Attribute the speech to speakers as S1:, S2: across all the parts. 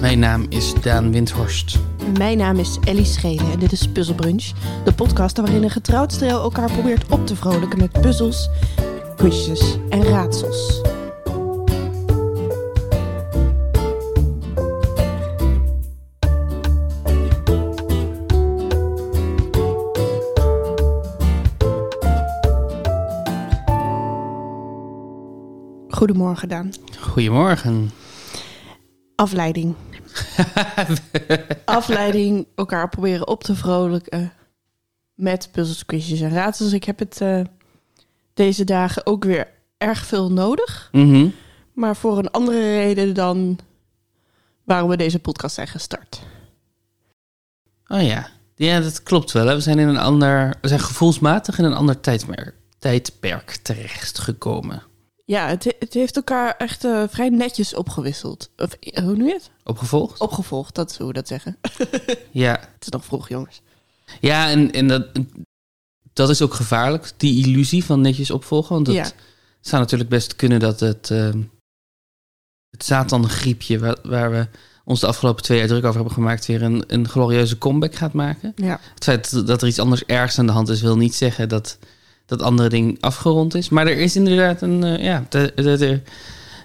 S1: Mijn naam is Daan Windhorst.
S2: Mijn naam is Ellie Schelen en dit is Puzzle Brunch. De podcast waarin een getrouwd stel elkaar probeert op te vrolijken met puzzels, quizjes en raadsels. Goedemorgen Daan.
S1: Goedemorgen.
S2: Afleiding. Afleiding, elkaar proberen op te vrolijken met puzzels, quizjes en raadsels. Ik heb het eh, deze dagen ook weer erg veel nodig.
S1: Mhm.
S2: Maar voor een andere reden dan waarom we deze podcast zijn gestart.
S1: Oh ja. Ja, dat klopt wel. Hè. We zijn in een ander. We zijn gevoelsmatig in een ander tijdperk, tijdperk terechtgekomen.
S2: Ja, het, het heeft elkaar echt eh, vrij netjes opgewisseld. Of eh, hoe nu het?
S1: Opgevolgd?
S2: Opgevolgd, dat is hoe we dat zeggen.
S1: Ja.
S2: Het is nog vroeg, jongens.
S1: Ja, en, en dat, dat is ook gevaarlijk. Die illusie van netjes opvolgen. Want het
S2: Ja.
S1: zou natuurlijk best kunnen dat het. ehm het Satan-griepje, waar, waar we ons de afgelopen twee jaar druk over hebben gemaakt, weer een, een glorieuze comeback gaat maken.
S2: Ja.
S1: Het feit dat er iets anders ergs aan de hand is, wil niet zeggen dat dat andere ding afgerond is. Maar er is inderdaad een. eh, ja, de, de, de,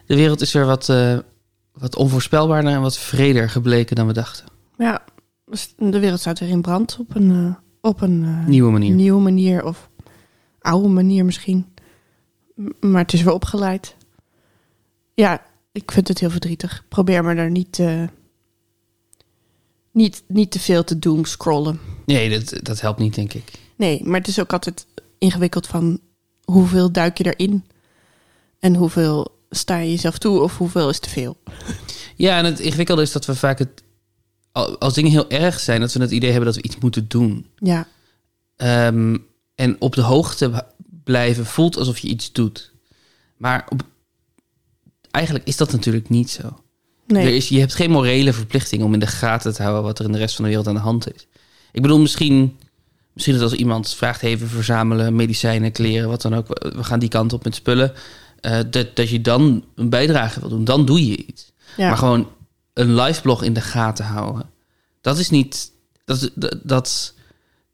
S1: de wereld is weer wat, eh, wat onvoorspelbaarder en wat vreder gebleken dan we dachten.
S2: ja, dus de wereld staat weer in brand op een, eh, op een eh,
S1: Nieuwe manier.
S2: nieuwe manier of oude manier misschien. M- Maar het is weer opgeleid. Ja, ik vind het heel verdrietig. Probeer maar daar niet, eh, niet, niet te veel te doom scrollen.
S1: Nee, dat, dat helpt niet, denk ik.
S2: Nee, maar het is ook altijd ingewikkeld van hoeveel duik je erin? En hoeveel sta je jezelf toe of hoeveel is te veel?
S1: Ja, en het ingewikkelde is dat we vaak het. al- Als dingen heel erg zijn, dat we het idee hebben dat we iets moeten doen.
S2: Ja,
S1: Ehm, en op de hoogte b- blijven voelt alsof je iets doet. Maar op, eigenlijk is dat natuurlijk niet zo. Er
S2: nee.
S1: is, je hebt geen morele verplichting om in de gaten te houden wat er in de rest van de wereld aan de hand is. Ik bedoel, misschien, misschien dat als iemand vraagt even verzamelen, medicijnen, kleren, wat dan ook, we- we gaan die kant op met spullen, eh, dat, dat je dan een bijdrage wil doen, dan doe je iets.
S2: Ja.
S1: Maar gewoon een liveblog in de gaten houden, dat is niet, dat, dat, dat,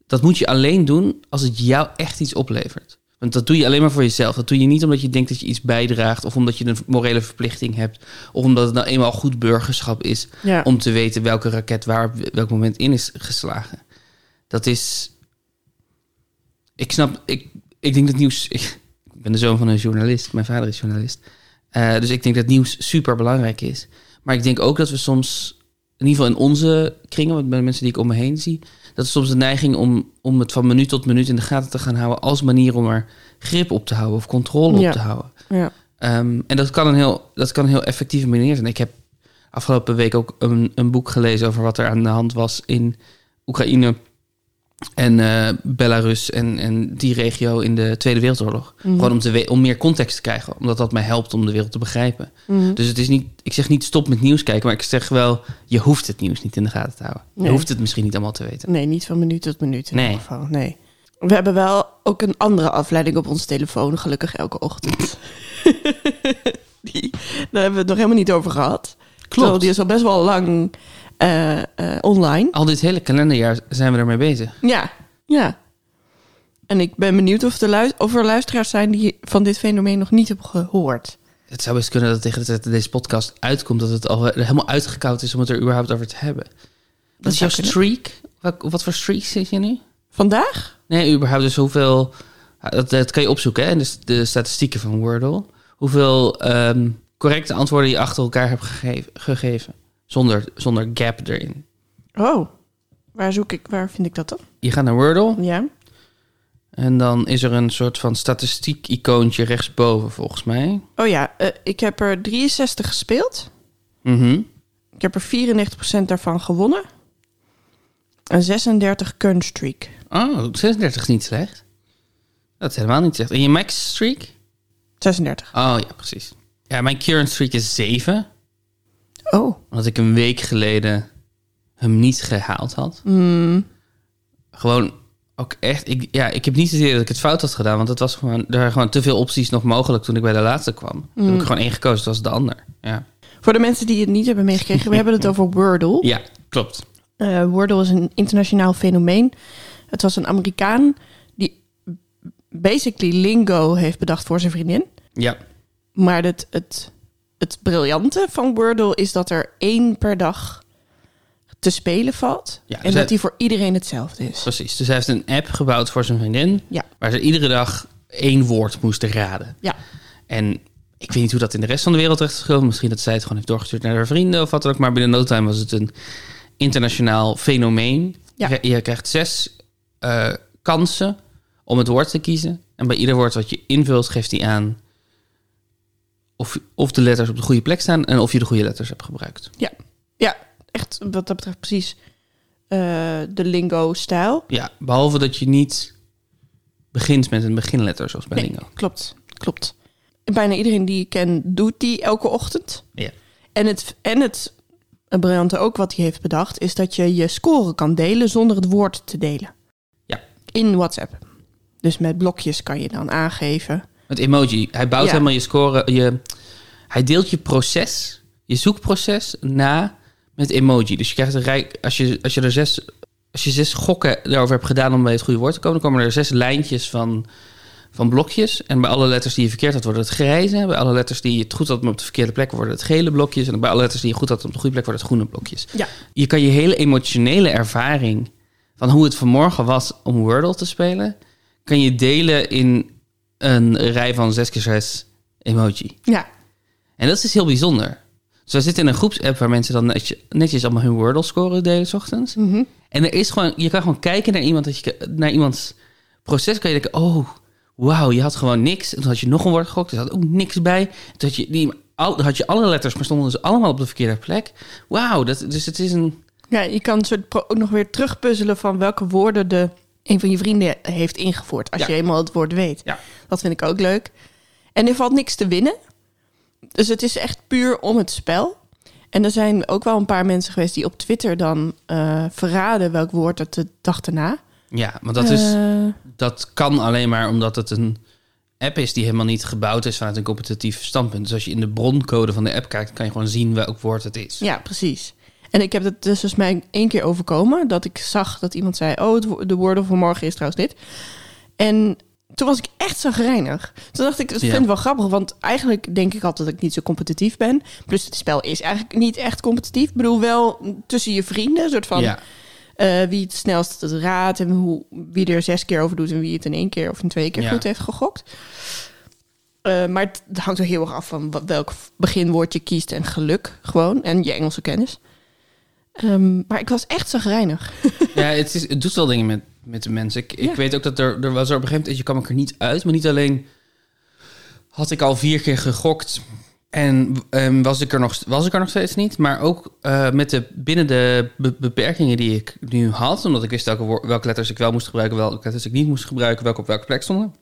S1: dat moet je alleen doen als het jou echt iets oplevert. Want dat doe je alleen maar voor jezelf. Dat doe je niet omdat je denkt dat je iets bijdraagt of omdat je een morele verplichting hebt of omdat het nou eenmaal goed burgerschap is
S2: ja.
S1: om te weten welke raket waar op welk moment in is geslagen. Dat is. Ik snap, ik, ik denk dat nieuws. Ik ben de zoon van een journalist, mijn vader is journalist. Eh, dus ik denk dat nieuws super belangrijk is. Maar ik denk ook dat we soms, in ieder geval in onze kringen, want bij de mensen die ik om me heen zie, dat is soms de neiging om, om het van minuut tot minuut in de gaten te gaan houden als manier om er grip op te houden of controle
S2: Ja.
S1: op te houden.
S2: ja.
S1: Ehm, en dat kan, een heel, dat kan een heel effectieve manier zijn. Ik heb afgelopen week ook een, een boek gelezen over wat er aan de hand was in Oekraïne en eh, Belarus en, en die regio in de Tweede Wereldoorlog.
S2: Mhm.
S1: Gewoon om, te we- om meer context te krijgen, omdat dat mij helpt om de wereld te begrijpen.
S2: Mhm.
S1: Dus het is niet, ik zeg niet stop met nieuws kijken, maar ik zeg wel, je hoeft het nieuws niet in de gaten te houden. Je
S2: Nee.
S1: hoeft het misschien niet allemaal te weten.
S2: Nee, niet van minuut tot minuut in
S1: Nee.
S2: ieder geval. Nee. We hebben wel ook een andere afleiding op ons telefoon, gelukkig elke ochtend. die, daar hebben we het nog helemaal niet over gehad. Terwijl Die is al best wel lang eh, eh, online.
S1: Al dit hele kalenderjaar zijn we ermee bezig.
S2: Ja, ja. En ik ben benieuwd of, de luis- of er luisteraars zijn die van dit fenomeen nog niet hebben gehoord.
S1: Het zou best kunnen dat tegen de tijd dat deze podcast uitkomt, dat het al wel helemaal uitgekoud is om het er überhaupt over te hebben. Wat is jouw
S2: zou kunnen.
S1: streak? Wat, op wat voor streak zit je nu?
S2: Vandaag?
S1: Nee, überhaupt. Dus hoeveel. eh, Dat, dat kan je opzoeken, hè? Dus de statistieken van Wordle. Hoeveel ehm, correcte antwoorden je achter elkaar hebt gegeven. gegeven zonder, zonder gap erin.
S2: Oh, waar zoek ik, waar vind ik dat dan?
S1: Je gaat naar Wordle
S2: Ja.
S1: en dan is er een soort van statistiek-icoontje rechtsboven, volgens mij.
S2: Oh ja, eh, ik heb er 63 gespeeld.
S1: Mhm.
S2: Ik heb er 94% daarvan gewonnen. Een 36 kunststreak.
S1: Oh, 36 is niet slecht. Dat is helemaal niet slecht. En je max streak?
S2: 36.
S1: Oh ja, precies. Ja, mijn current streak is 7.
S2: Oh.
S1: Omdat ik een week geleden hem niet gehaald had. Gewoon ook echt. Ik, ja, ik heb niet zozeer dat ik het fout had gedaan. Want het was gewoon, er waren gewoon te veel opties nog mogelijk toen ik bij de laatste kwam. Toen heb ik er gewoon één gekozen. Het was de ander. Ja.
S2: Voor de mensen die het niet hebben meegekregen, we hebben het over Wordle.
S1: Ja, klopt.
S2: Eh, Wordle is een internationaal fenomeen. Het was een Amerikaan die basically lingo heeft bedacht voor zijn vriendin.
S1: Ja,
S2: Maar het, het, het briljante van Wordle is dat er één per dag te spelen valt.
S1: Ja,
S2: en
S1: dus
S2: dat
S1: hij-
S2: die voor iedereen hetzelfde is.
S1: precies. Dus hij heeft een app gebouwd voor zijn vriendin.
S2: Ja.
S1: Waar ze iedere dag één woord moesten raden.
S2: Ja,
S1: En ik weet niet hoe dat in de rest van de wereld terecht is gekomen. Misschien dat zij het gewoon heeft doorgestuurd naar haar vrienden of wat dan ook. Maar binnen no time was het een internationaal fenomeen.
S2: Ja.
S1: Je, je krijgt zes eh, kansen om het woord te kiezen. En bij ieder woord wat je invult, geeft hij aan of, of de letters op de goede plek staan en of je de goede letters hebt gebruikt.
S2: ja, ja. Echt wat dat betreft precies eh, de lingo-stijl.
S1: Ja, behalve dat je niet begint met een beginletter zoals bij
S2: Nee,
S1: Lingo.
S2: klopt, klopt. Bijna iedereen die ik ken doet die elke ochtend.
S1: Ja.
S2: En het, en het briljante ook wat hij heeft bedacht... is dat je je score kan delen zonder het woord te delen.
S1: Ja.
S2: In WhatsApp. Dus met blokjes kan je dan aangeven.
S1: Met emoji. Hij bouwt
S2: Ja.
S1: helemaal je score. Je, hij deelt je proces, je zoekproces, na met emoji. Dus je krijgt een rijk. Als je, als je er zes. Als je zes gokken daarover hebt gedaan om bij het goede woord te komen, dan komen er zes lijntjes van, van blokjes. En bij alle letters die je verkeerd had, worden het grijze. Bij alle letters die je het goed had, maar op de verkeerde plek, worden het gele blokjes. En bij alle letters die je goed had, op de goede plek, worden het groene blokjes.
S2: Ja.
S1: Je kan je hele emotionele ervaring van hoe het vanmorgen was om Wordle te spelen, kan je delen in een rij van 6 keer 6 emoji.
S2: Ja,
S1: En dat is heel bijzonder. Dus we zitten in een groepsapp waar mensen dan netje- netjes allemaal hun Wordle scoren delen 's ochtends.
S2: Mhm.
S1: En er is gewoon, je kan gewoon kijken naar iemand dat je naar iemands proces kan je denken, oh, wauw, je had gewoon niks. En toen had je nog een woord gokt, er zat ook niks bij. En Toen had je, die, al, dan had je alle letters, maar stonden ze allemaal op de verkeerde plek. Wauw, dat, dus het is een
S2: ja je kan een soort pro- ook nog weer terugpuzzelen... van welke woorden de, een van je vrienden heeft ingevoerd... als
S1: Ja.
S2: je eenmaal het woord weet.
S1: Ja.
S2: Dat vind ik ook leuk. En er valt niks te winnen. Dus het is echt puur om het spel. En er zijn ook wel een paar mensen geweest die op Twitter dan eh, verraden welk woord het de dag erna.
S1: Ja, want dat, is,
S2: Eh,
S1: dat kan alleen maar omdat het een app is die helemaal niet gebouwd is vanuit een competitief standpunt. Dus als je in de broncode van de app kijkt, kan je gewoon zien welk woord het is.
S2: ja, precies. En ik heb het dus volgens mij één keer overkomen dat ik zag dat iemand zei: Oh, het wo- de woorden van morgen is trouwens dit. En toen was ik echt zagrijnig. Toen dacht ik, dat
S1: Ja.
S2: vind ik wel grappig, want eigenlijk denk ik altijd dat ik niet zo competitief ben. Plus het spel is eigenlijk niet echt competitief. Ik bedoel, wel tussen je vrienden, een soort van...
S1: Ja.
S2: eh, wie het snelst het raadt en hoe, wie er zes keer over doet en wie het in één keer of in twee keer
S1: Ja.
S2: goed heeft gegokt. Eh, maar het het hangt er heel erg af van wat- welk beginwoord je kiest en geluk gewoon en je Engelse kennis. Ehm, maar ik was echt zagrijnig.
S1: Ja, het, is, het doet wel dingen met, met de mensen. Ik,
S2: Ja.
S1: ik weet ook dat er, er was er op een gegeven moment, je kwam ik er niet uit. Maar niet alleen had ik al vier keer gegokt en ehm, was, ik er nog, was ik er nog steeds niet. Maar ook eh, met de, binnen de be- beperkingen die ik nu had. Omdat ik wist welke, woor- welke letters ik wel moest gebruiken, welke letters ik niet moest gebruiken, welke op welke plek stonden.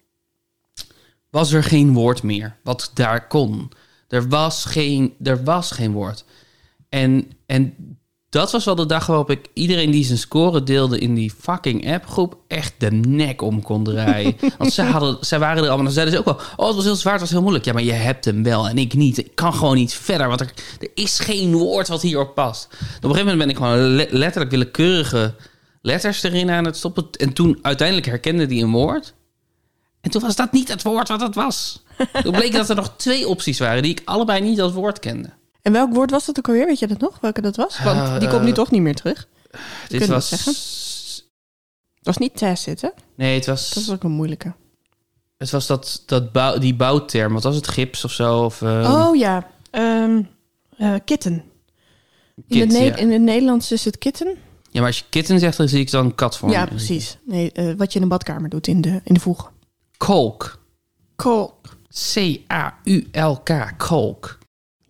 S1: Was er geen woord meer wat daar kon. Er was geen, er was geen woord. En, en dat was wel de dag waarop ik iedereen die zijn score deelde in die fucking appgroep echt de nek om kon draaien. Want zij, hadden, zij waren er allemaal. Dan zeiden ze ook wel: Oh, het was heel zwaar, het was heel moeilijk. Ja, maar je hebt hem wel en ik niet. Ik kan gewoon niet verder, want er, er is geen woord wat hierop past. Op een gegeven moment ben ik gewoon le- letterlijk willekeurige letters erin aan het stoppen. En toen uiteindelijk herkende die een woord. En toen was dat niet het woord wat het was. Toen bleek dat er nog twee opties waren die ik allebei niet als woord kende.
S2: En welk woord was dat ook alweer? Weet je dat nog? Welke dat was? Want die komt nu
S1: Eh,
S2: toch niet meer terug.
S1: Dit
S2: Kun je
S1: was.
S2: dat Het was niet tacit, hè?
S1: Nee, het was.
S2: Dat is ook een moeilijke.
S1: Het was dat, dat bouw, die bouwterm. Wat was het? Gips of zo? Of, eh,
S2: oh ja, Ehm, eh, kitten. In,
S1: kit,
S2: het Ne-
S1: ja.
S2: in het Nederlands is het kitten.
S1: ja, maar als je kitten zegt, dan zie ik dan een kat voor
S2: ja,
S1: me.
S2: precies. Nee, eh, wat je in een badkamer doet in de, in de voegen.
S1: Kolk.
S2: Cool.
S1: C-A-U-L-K. Kolk.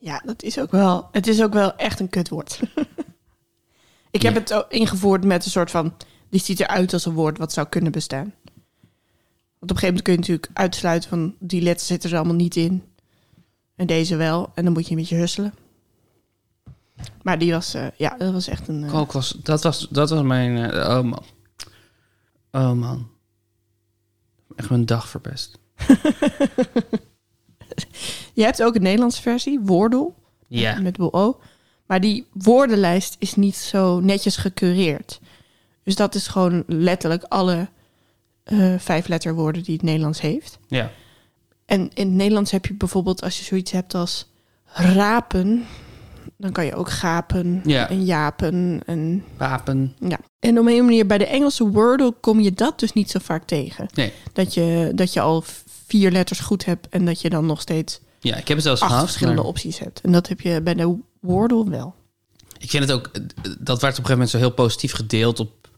S2: Ja, dat is ook wel. Het is ook wel echt een kutwoord. ik heb
S1: Ja.
S2: het ook ingevoerd met een soort van. Die ziet eruit als een woord wat zou kunnen bestaan. Want op een gegeven moment kun je natuurlijk uitsluiten van die letters zitten er allemaal niet in. En deze wel. En dan moet je een beetje husselen. Maar die was, eh, ja, dat was echt een. eh,
S1: Kolk was... Dat was, dat was mijn... eh, oh, man. Oh, man. Echt mijn dag verpest.
S2: Je hebt ook een Nederlandse versie, Wordle.
S1: Ja.
S2: met BO. Maar die woordenlijst is niet zo netjes gecureerd. Dus dat is gewoon letterlijk alle eh vijf letterwoorden die het Nederlands heeft.
S1: ja.
S2: En in het Nederlands heb je bijvoorbeeld als je zoiets hebt als rapen, dan kan je ook gapen
S1: Ja.
S2: en japen en
S1: Wapen.
S2: ja. En op een manier bij de Engelse Wordle kom je dat dus niet zo vaak tegen.
S1: Nee.
S2: Dat je, dat je al vier letters goed hebt en dat je dan nog steeds
S1: Ja, ik heb het zelfs
S2: acht
S1: gehad.
S2: verschillende
S1: maar
S2: opties hebt. En dat heb je bij de Wordle wel.
S1: Ik vind het ook... eh, Dat werd op een gegeven moment zo heel positief gedeeld op...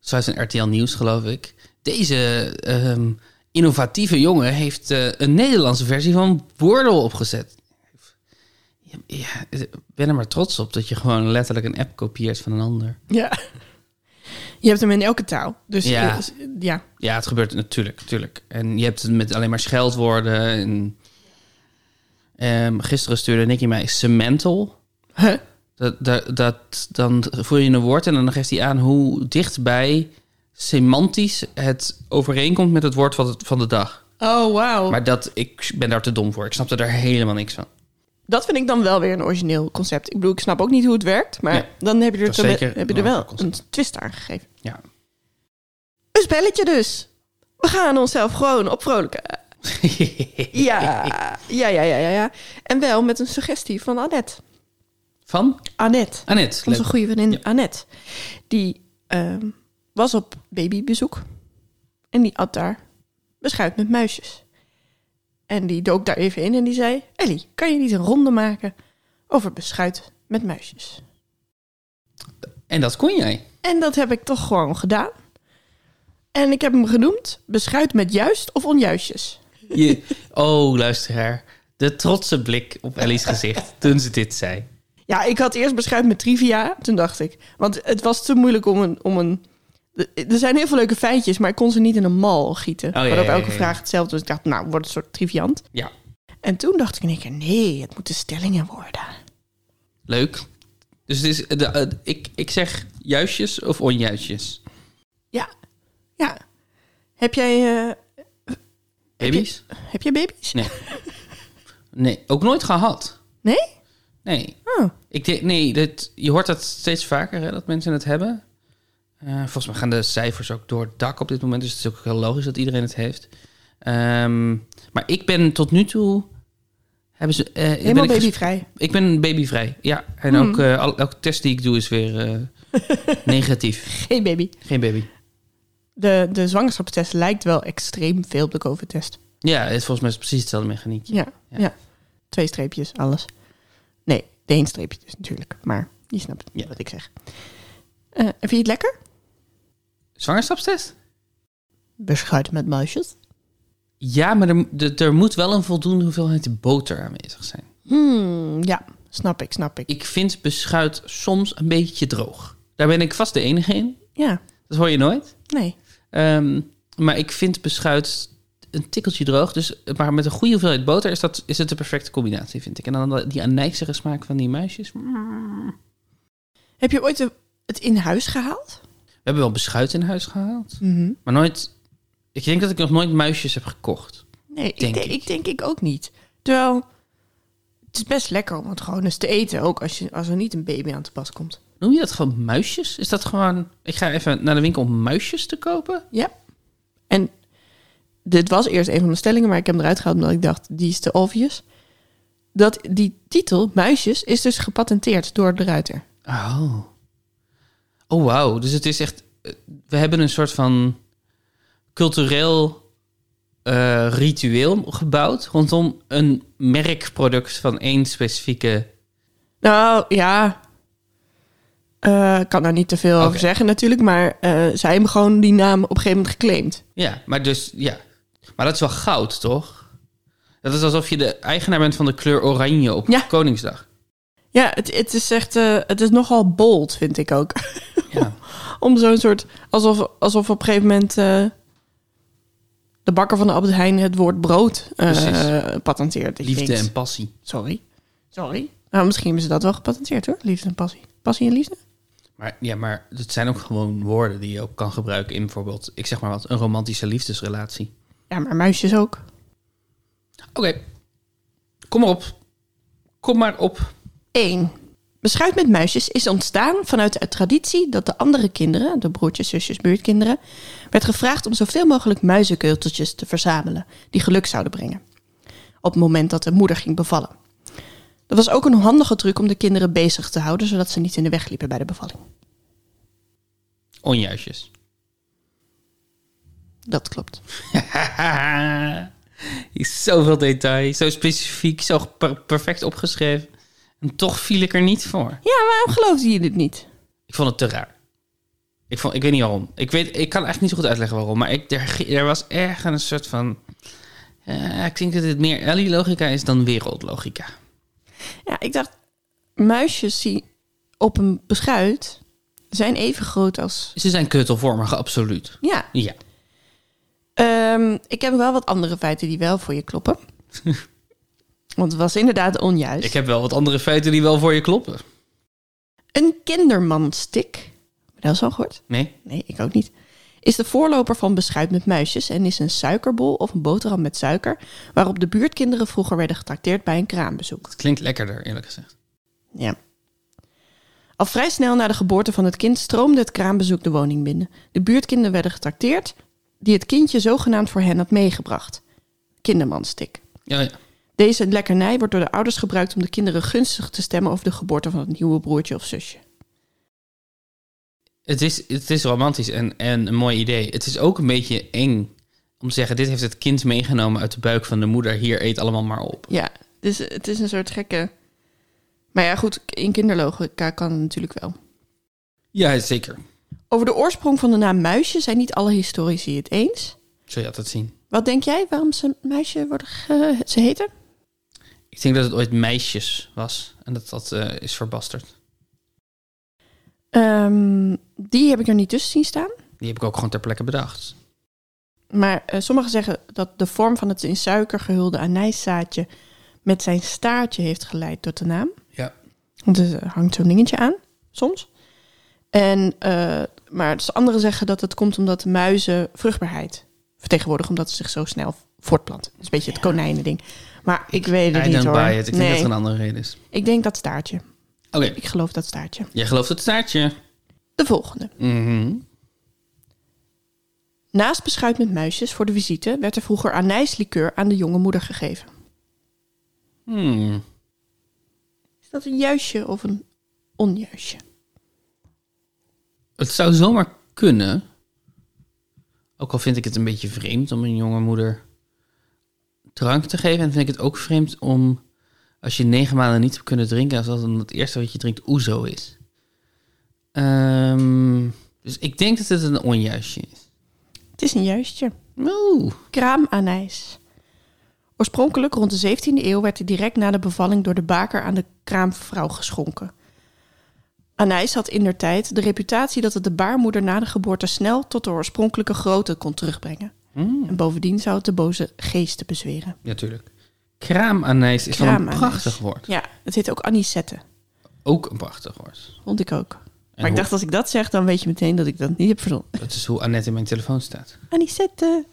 S1: Zoals een RTL Nieuws, geloof ik. Deze ehm, innovatieve jongen heeft eh, een Nederlandse versie van Wordle opgezet. Ja, ja, ik ben er maar trots op dat je gewoon letterlijk een app kopieert van een ander.
S2: Ja. Je hebt hem in elke taal. Dus
S1: Ja.
S2: ja. ja.
S1: Ja, het gebeurt natuurlijk, natuurlijk. En je hebt het met alleen maar scheldwoorden. En, Ehm, gisteren stuurde Nicky mij cemental.
S2: Huh?
S1: Dat, dat, dat, dan voer je een woord en dan geeft hij aan hoe dichtbij semantisch het overeenkomt met het woord van, het, van de dag.
S2: Oh, wauw.
S1: Maar dat, ik ben daar te dom voor. Ik snapte daar helemaal niks van.
S2: Dat vind ik dan wel weer een origineel concept. Ik bedoel, ik snap ook niet hoe het werkt, maar
S1: Nee,
S2: dan heb je er,
S1: dat is
S2: te-
S1: zeker
S2: heb je
S1: een
S2: er wel
S1: origineel
S2: een
S1: concept.
S2: twist aan gegeven.
S1: Ja.
S2: Een spelletje dus. We gaan onszelf gewoon opvrolijken. Ja, ja, ja, ja, ja, ja. En wel met een suggestie van Annette.
S1: van?
S2: Annette,
S1: Annette.
S2: onze
S1: Leuk.
S2: goede vriendin
S1: Ja.
S2: Annette. Die ehm, was op babybezoek. En die at daar beschuit met muisjes. En die dook daar even in en die zei... Ellie, kan je niet een ronde maken over beschuit met muisjes?
S1: En dat kon jij.
S2: En dat heb ik toch gewoon gedaan. En ik heb hem genoemd beschuit met juist of onjuistjes.
S1: Je, oh, luisteraar. De trotse blik op Ellie's gezicht toen ze dit zei.
S2: Ja, ik had eerst beschuit met trivia. Toen dacht ik, want het was te moeilijk om een... Om een er zijn heel veel leuke feitjes, maar ik kon ze niet in een mal gieten.
S1: Oh, ja,
S2: waarop
S1: ja, ja,
S2: elke
S1: ja.
S2: vraag hetzelfde. Dus ik dacht, nou, wordt een soort triviant.
S1: Ja,
S2: En toen dacht ik in één keer, nee, het moeten stellingen worden.
S1: leuk. Dus het is, de, eh, ik, ik zeg juistjes of onjuistjes?
S2: Ja, ja. Heb jij, eh,
S1: Baby's?
S2: heb jij baby's?
S1: Nee. Nee, ook nooit gehad.
S2: Nee?
S1: Nee.
S2: Oh.
S1: Ik denk, nee, dit, je hoort dat steeds vaker, hè, dat mensen het hebben. Eh, volgens mij gaan de cijfers ook door het dak op dit moment. Dus het is ook heel logisch dat iedereen het heeft. Ehm, maar ik ben tot nu toe... Hebben ze, eh, ben
S2: Helemaal
S1: ik ges-
S2: babyvrij. Mm.
S1: Ik ben babyvrij, ja. En ook eh, al- elke test die ik doe is weer eh, negatief.
S2: Geen baby.
S1: Geen baby.
S2: De, de zwangerschapstest lijkt wel extreem veel op de COVID-test.
S1: Ja, het, volgens mij is het precies hetzelfde mechaniekje.
S2: Ja,
S1: Ja.
S2: ja. Twee streepjes, alles. Nee, de één streepje dus natuurlijk. Maar je snapt
S1: Ja.
S2: wat ik zeg. Eh, en vind je het lekker?
S1: Zwangerschapstest?
S2: Beschuit met muisjes.
S1: Ja, maar er, er- er moet wel een voldoende hoeveelheid boter aanwezig zijn.
S2: Hmm, ja, snap ik, snap ik.
S1: Ik vind beschuit soms een beetje droog. Daar ben ik vast de enige in.
S2: Ja,
S1: Dat hoor je nooit.
S2: nee.
S1: Ehm, maar ik vind beschuit een tikkeltje droog. Dus, maar met een goede hoeveelheid boter is, dat, is het de perfecte combinatie, vind ik. En dan die anijzige smaak van die muisjes.
S2: Heb je ooit de- het in huis gehaald?
S1: We hebben wel beschuit in huis gehaald. Maar nooit... Ik denk dat ik nog nooit muisjes heb gekocht.
S2: Nee, ik
S1: Denk
S2: denk
S1: ik.
S2: ik. denk ik ook niet. Terwijl, het is best lekker om het gewoon eens te eten. Ook als, je, als er niet een baby aan te pas komt.
S1: Noem je dat gewoon muisjes? Is dat gewoon... Ik ga even naar de winkel om muisjes te kopen?
S2: Ja. En dit was eerst een van mijn stellingen, maar ik heb hem eruit gehaald omdat ik dacht, die is te obvious. Dat die titel, Muisjes, is dus gepatenteerd door de ruiter.
S1: Oh. Oh, wauw. Dus het is echt... eh, We hebben een soort van cultureel eh, ritueel gebouwd... rondom een merkproduct van één specifieke...
S2: Nou, ja. Eh, Ik kan daar niet te veel
S1: Oké.
S2: over zeggen natuurlijk, maar eh, zij hebben gewoon die naam op een gegeven moment geclaimd.
S1: Ja, maar dus... Ja. Maar dat is wel goud, toch? Dat is alsof je de eigenaar bent van de kleur oranje op
S2: Ja.
S1: Koningsdag.
S2: Ja, het, het is echt, eh, het is nogal bold, vind ik ook.
S1: Ja.
S2: Om zo'n soort, alsof, alsof op een gegeven moment eh, de bakker van de Albert Heijn het woord brood eh,
S1: Precies.
S2: patenteert. Dat je
S1: Liefde
S2: denkt,
S1: en passie.
S2: Sorry. Sorry. Nou, misschien hebben ze dat wel gepatenteerd hoor. Liefde en passie. Passie en liefde.
S1: Maar, ja, maar het zijn ook gewoon woorden die je ook kan gebruiken in bijvoorbeeld... ik zeg maar wat, een romantische liefdesrelatie.
S2: Ja, maar muisjes ook.
S1: Oké. Kom maar op. Kom maar op.
S2: 1. Beschuit met muisjes is ontstaan vanuit de traditie dat de andere kinderen, de broertjes, zusjes, buurtkinderen, werd gevraagd om zoveel mogelijk muizenkeuteltjes te verzamelen die geluk zouden brengen. Op het moment dat de moeder ging bevallen. Dat was ook een handige truc om de kinderen bezig te houden, zodat ze niet in de weg liepen bij de bevalling.
S1: Onjuistjes.
S2: Dat klopt.
S1: Is Zoveel detail, zo specifiek, zo per- perfect opgeschreven. En toch viel ik er niet voor.
S2: Ja, waarom geloofden jullie dit niet?
S1: Ik vond het te raar. Ik, vond, ik weet niet waarom. Ik, weet, ik kan eigenlijk niet zo goed uitleggen waarom. Maar ik, er, er was ergens een soort van... eh, ik denk dat het meer Ellie-logica is dan wereldlogica.
S2: Ja, ik dacht, muisjes die op een beschuit zijn even groot als...
S1: Ze zijn keutelvormig, absoluut.
S2: Ja,
S1: Ja.
S2: Ehm, ik heb wel wat andere feiten die wel voor je kloppen. Want het was inderdaad onjuist.
S1: Ik heb wel wat andere feiten die wel voor je kloppen.
S2: Een kindermanstik, heb je dat is al gehoord?
S1: Nee?
S2: Nee, ik ook niet. Is de voorloper van beschuit met muisjes en is een suikerbol of een boterham met suiker... waarop de buurtkinderen vroeger werden getrakteerd bij een kraambezoek.
S1: Het klinkt lekkerder, eerlijk gezegd.
S2: Ja. Al vrij snel na de geboorte van het kind stroomde het kraambezoek de woning binnen. De buurtkinderen werden getrakteerd, die het kindje zogenaamd voor hen had meegebracht. Kindermanstik.
S1: Ja, ja.
S2: Deze lekkernij wordt door de ouders gebruikt om de kinderen gunstig te stemmen over de geboorte van het nieuwe broertje of zusje.
S1: Het is, het is romantisch en, en een mooi idee. Het is ook een beetje eng om te zeggen: dit heeft het kind meegenomen uit de buik van de moeder. Hier eet allemaal maar op.
S2: Ja, dus het is een soort gekke. Maar ja, goed, in kinderlogica kan het natuurlijk wel.
S1: Ja, zeker.
S2: Over de oorsprong van de naam muisje zijn niet alle historici het eens.
S1: Zul je altijd zien.
S2: Wat denk jij waarom ze muisje worden ge- ze heten?
S1: Ik denk dat het ooit meisjes was en dat dat eh, is verbasterd.
S2: Ehm, die heb ik er niet tussen zien staan.
S1: Die heb ik ook gewoon ter plekke bedacht.
S2: Maar eh, sommigen zeggen dat de vorm van het in suiker gehulde anijszaadje met zijn staartje heeft geleid tot de naam.
S1: Ja.
S2: Want er eh, hangt zo'n dingetje aan, soms. En, eh, maar dus anderen zeggen dat het komt omdat muizen vruchtbaarheid vertegenwoordigen, omdat ze zich zo snel voortplanten. Dat is een beetje het konijnen-ding. Maar ik weet het
S1: I
S2: niet
S1: don't
S2: hoor.
S1: buy it. Ik denk
S2: nee,
S1: dat het een andere reden is.
S2: ik denk dat staartje.
S1: Oké,
S2: Ik geloof dat staartje.
S1: jij gelooft het staartje.
S2: De volgende.
S1: Mhm.
S2: Naast beschuit met muisjes voor de visite werd er vroeger anijslikeur aan de jonge moeder gegeven.
S1: Hmm.
S2: Is dat een juistje of een onjuistje?
S1: Het zou zomaar kunnen. Ook al vind ik het een beetje vreemd om een jonge moeder drank te geven. En vind ik het ook vreemd om, als je negen maanden niet hebt kunnen drinken, als dat dan het eerste wat je drinkt oezo is. Ehm, dus ik denk dat het een onjuistje is.
S2: Het is een juistje.
S1: Oeh.
S2: Kraamanijs. Oorspronkelijk rond de 17e eeuw werd hij direct na de bevalling door de baker aan de kraamvrouw geschonken. Anijs had in der tijd de reputatie dat het de baarmoeder na de geboorte snel tot de oorspronkelijke grootte kon terugbrengen.
S1: Mm.
S2: En bovendien zou het de boze geesten bezweren.
S1: Natuurlijk. Kraamanijs is wel een
S2: Kraamanijs.
S1: prachtig woord.
S2: Ja, het heet ook anisette.
S1: Ook een prachtig woord.
S2: Vond ik ook. Maar
S1: hoe-
S2: ik dacht, als ik dat zeg, dan weet je meteen dat ik dat niet heb verzonnen.
S1: Dat is hoe Annette in mijn telefoon staat.
S2: Anisette.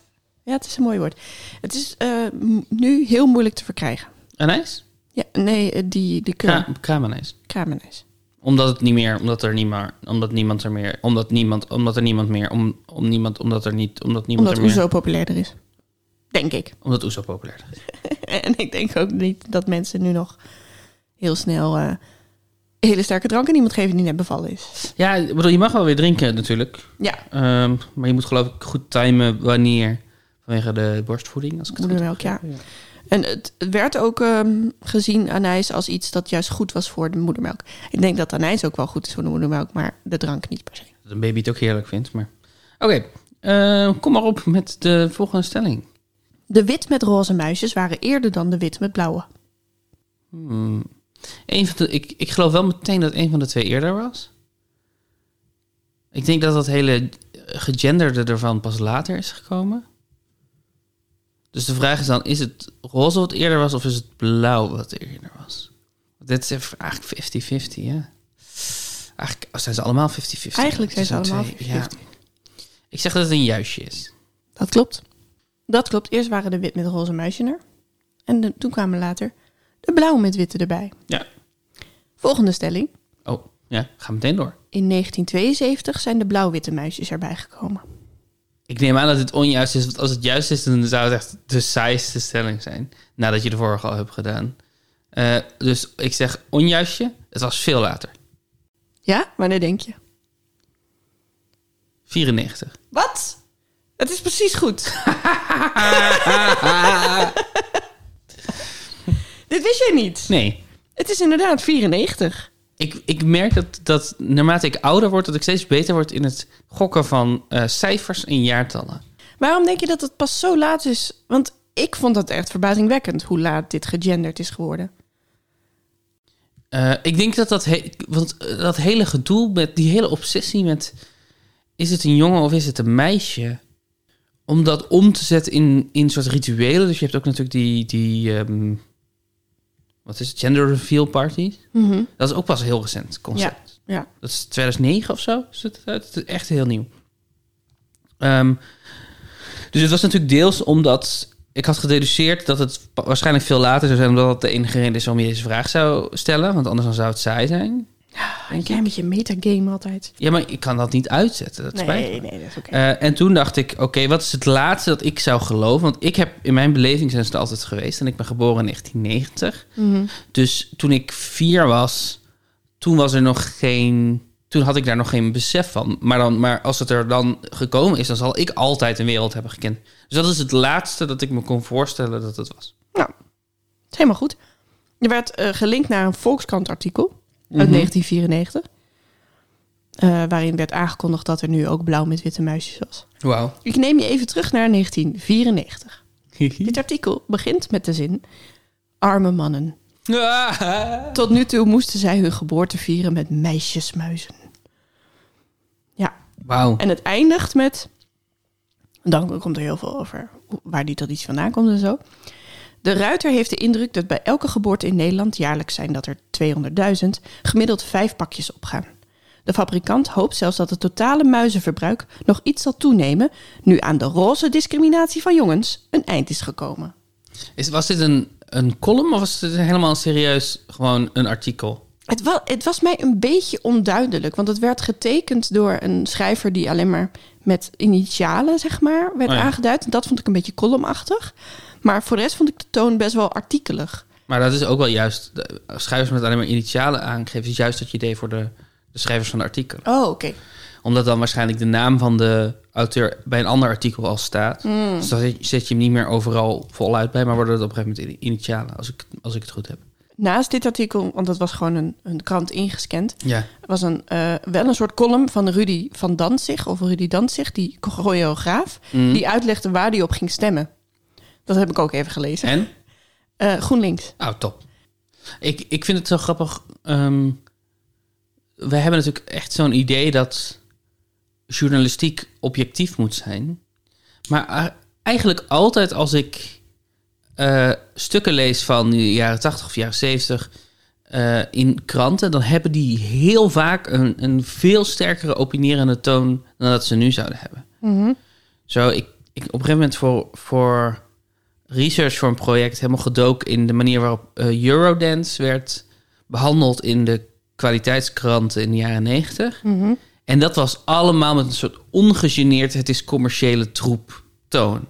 S2: Ja, het is een mooi woord. Het is eh, m- nu heel moeilijk te verkrijgen.
S1: Anijs?
S2: Ja, nee, eh, die, die keur.
S1: Kra kraamanijs.
S2: Kramenijs.
S1: Omdat het niet meer, omdat er niet meer, omdat niemand er meer, omdat niemand, omdat er niemand meer, om, om niemand, omdat er niet, omdat niemand
S2: Omdat
S1: er meer,
S2: Oezo populairder is. Denk ik.
S1: omdat Oezo populair is.
S2: en ik denk ook niet dat mensen nu nog heel snel eh, hele sterke drank aan iemand geven die net bevallen is.
S1: Ja, ik bedoel, je mag wel weer drinken natuurlijk,
S2: Ja,
S1: Ehm, maar je moet geloof ik goed timen wanneer, vanwege de borstvoeding, als ik het goed
S2: moedermelk, ja.
S1: heb.
S2: En het het werd ook ehm, gezien, anijs, als iets dat juist goed was voor de moedermelk. Ik denk dat anijs ook wel goed is voor de moedermelk, maar de drank niet per se.
S1: Dat een baby het ook heerlijk vindt, maar. Oké, eh, kom maar op met de volgende stelling.
S2: De wit met roze muisjes waren eerder dan de wit met blauwe.
S1: Hmm. Eén van de, ik, ik geloof wel meteen dat een van de twee eerder was. Ik denk dat dat hele gegenderde ervan pas later is gekomen. Dus de vraag is dan, is het roze wat eerder was of is het blauw wat eerder was? Dit is even eigenlijk 50-50, ja. Eigenlijk oh, zijn ze allemaal 50-50.
S2: Eigenlijk
S1: Het
S2: zijn ze
S1: zijn
S2: allemaal
S1: twee,
S2: 50-50.
S1: ja. Ik zeg dat het een juistje is.
S2: Dat klopt. Dat klopt. Eerst waren de wit met roze muisje er. En de- toen kwamen later de blauw met witte erbij.
S1: Ja.
S2: Volgende stelling.
S1: Oh, ja, ga meteen door.
S2: In 1972 zijn de blauw-witte muisjes erbij gekomen.
S1: Ik neem aan dat het onjuist is, want als het juist is, dan zou het echt de saaiste stelling zijn. Nadat je de vorige al hebt gedaan. Eh, dus ik zeg onjuistje, het was veel later.
S2: Ja? Wanneer denk je?
S1: 94.
S2: Wat? Het is precies goed. Dit wist jij niet.
S1: Nee,
S2: Het is inderdaad 94.
S1: ik, ik merk dat, dat naarmate ik ouder word, dat ik steeds beter word in het gokken van eh, cijfers en jaartallen.
S2: Waarom denk je dat het pas zo laat is? Want ik vond dat echt verbazingwekkend hoe laat dit gegenderd is geworden.
S1: Eh, ik denk dat dat, he- want eh, dat hele gedoe met die hele obsessie met is het een jongen of is het een meisje, om dat om te zetten in, in soort rituelen. Dus je hebt ook natuurlijk die, die ehm, wat is het, gender reveal parties.
S2: Mhm.
S1: Dat is ook pas een heel recent concept.
S2: Ja.
S1: Dat is 2009 of zo. Is het, uit? Het is echt heel nieuw. Ehm, dus het was natuurlijk deels omdat ik had gededuceerd dat het pa- waarschijnlijk veel later zou zijn, omdat dat de enige reden is waarom je deze vraag zou stellen, want anders dan zou het saai zijn.
S2: Denk jij met je metagame altijd?
S1: Ja, maar ik kan dat niet uitzetten. Dat spijt me.
S2: nee, dat is oké.
S1: Eh, en toen dacht ik, oké, wat is het laatste dat ik zou geloven? Want ik heb in mijn beleving zijn ze er altijd geweest. En ik ben geboren in 1990. Dus toen ik vier was, toen was er nog geen. Toen had ik daar nog geen besef van. Maar, dan, maar als het er dan gekomen is, dan zal ik altijd een wereld hebben gekend. Dus dat is het laatste dat ik me kon voorstellen dat het was.
S2: Nou, het is helemaal goed. Je werd eh, gelinkt naar een Volkskrant-artikel
S1: Mhm.
S2: uit 1994. eh, waarin werd aangekondigd dat er nu ook blauw met witte muisjes was.
S1: Wauw.
S2: Ik neem je even terug naar 1994. Dit artikel begint met de zin... Arme mannen. Tot nu toe moesten zij hun geboorte vieren met meisjesmuizen. Ja,
S1: Wauw.
S2: en het eindigt met. Dan komt er heel veel over hoe- waar die tot iets vandaan komt en zo. De ruiter heeft de indruk dat bij elke geboorte in Nederland jaarlijks zijn dat er 200.000 gemiddeld vijf pakjes opgaan. De fabrikant hoopt zelfs dat het totale muizenverbruik nog iets zal toenemen nu aan de roze discriminatie van jongens een eind is gekomen.
S1: Is- Was dit een, een column of was dit helemaal serieus gewoon een artikel?
S2: Het, wa- het was mij een beetje onduidelijk, want het werd getekend door een schrijver die alleen maar met initialen, zeg maar, werd
S1: Oh ja.
S2: aangeduid. Dat vond ik een beetje columnachtig. Maar voor de rest vond ik de toon best wel artikelig.
S1: Maar dat is ook wel juist. de- Schrijvers met alleen maar initialen aangeven, is juist dat je idee voor de, de schrijvers van de artikelen.
S2: Oh, oké.
S1: Omdat dan waarschijnlijk de naam van de auteur bij een ander artikel al staat. Dus dan zet- zet je hem niet meer overal voluit bij, maar worden het op een gegeven moment in- initialen, als ik, als ik het goed heb.
S2: Naast dit artikel, want dat was gewoon een, een krant ingescand,
S1: Ja.
S2: was een, eh, wel een soort column van Rudy van Danzig, of Rudy Danzig, die choreograaf,
S1: Mhm.
S2: die uitlegde waar hij op ging stemmen. Dat heb ik ook even gelezen.
S1: En?
S2: Eh, GroenLinks.
S1: Oh, top. Ik, ik vind het zo grappig. ehm, we hebben natuurlijk echt zo'n idee dat journalistiek objectief moet zijn. Maar eh, eigenlijk altijd als ik eh, stukken lees van de jaren 80 of jaren 70 eh, in kranten, dan hebben die heel vaak een, een veel sterkere opinerende toon dan dat ze nu zouden hebben. Zo, ik, ik op een gegeven moment voor, voor research voor een project helemaal gedoken in de manier waarop eh, Eurodance werd behandeld in de kwaliteitskranten in de jaren 90. En dat was allemaal met een soort ongegeneerd, het is commerciële troep toon.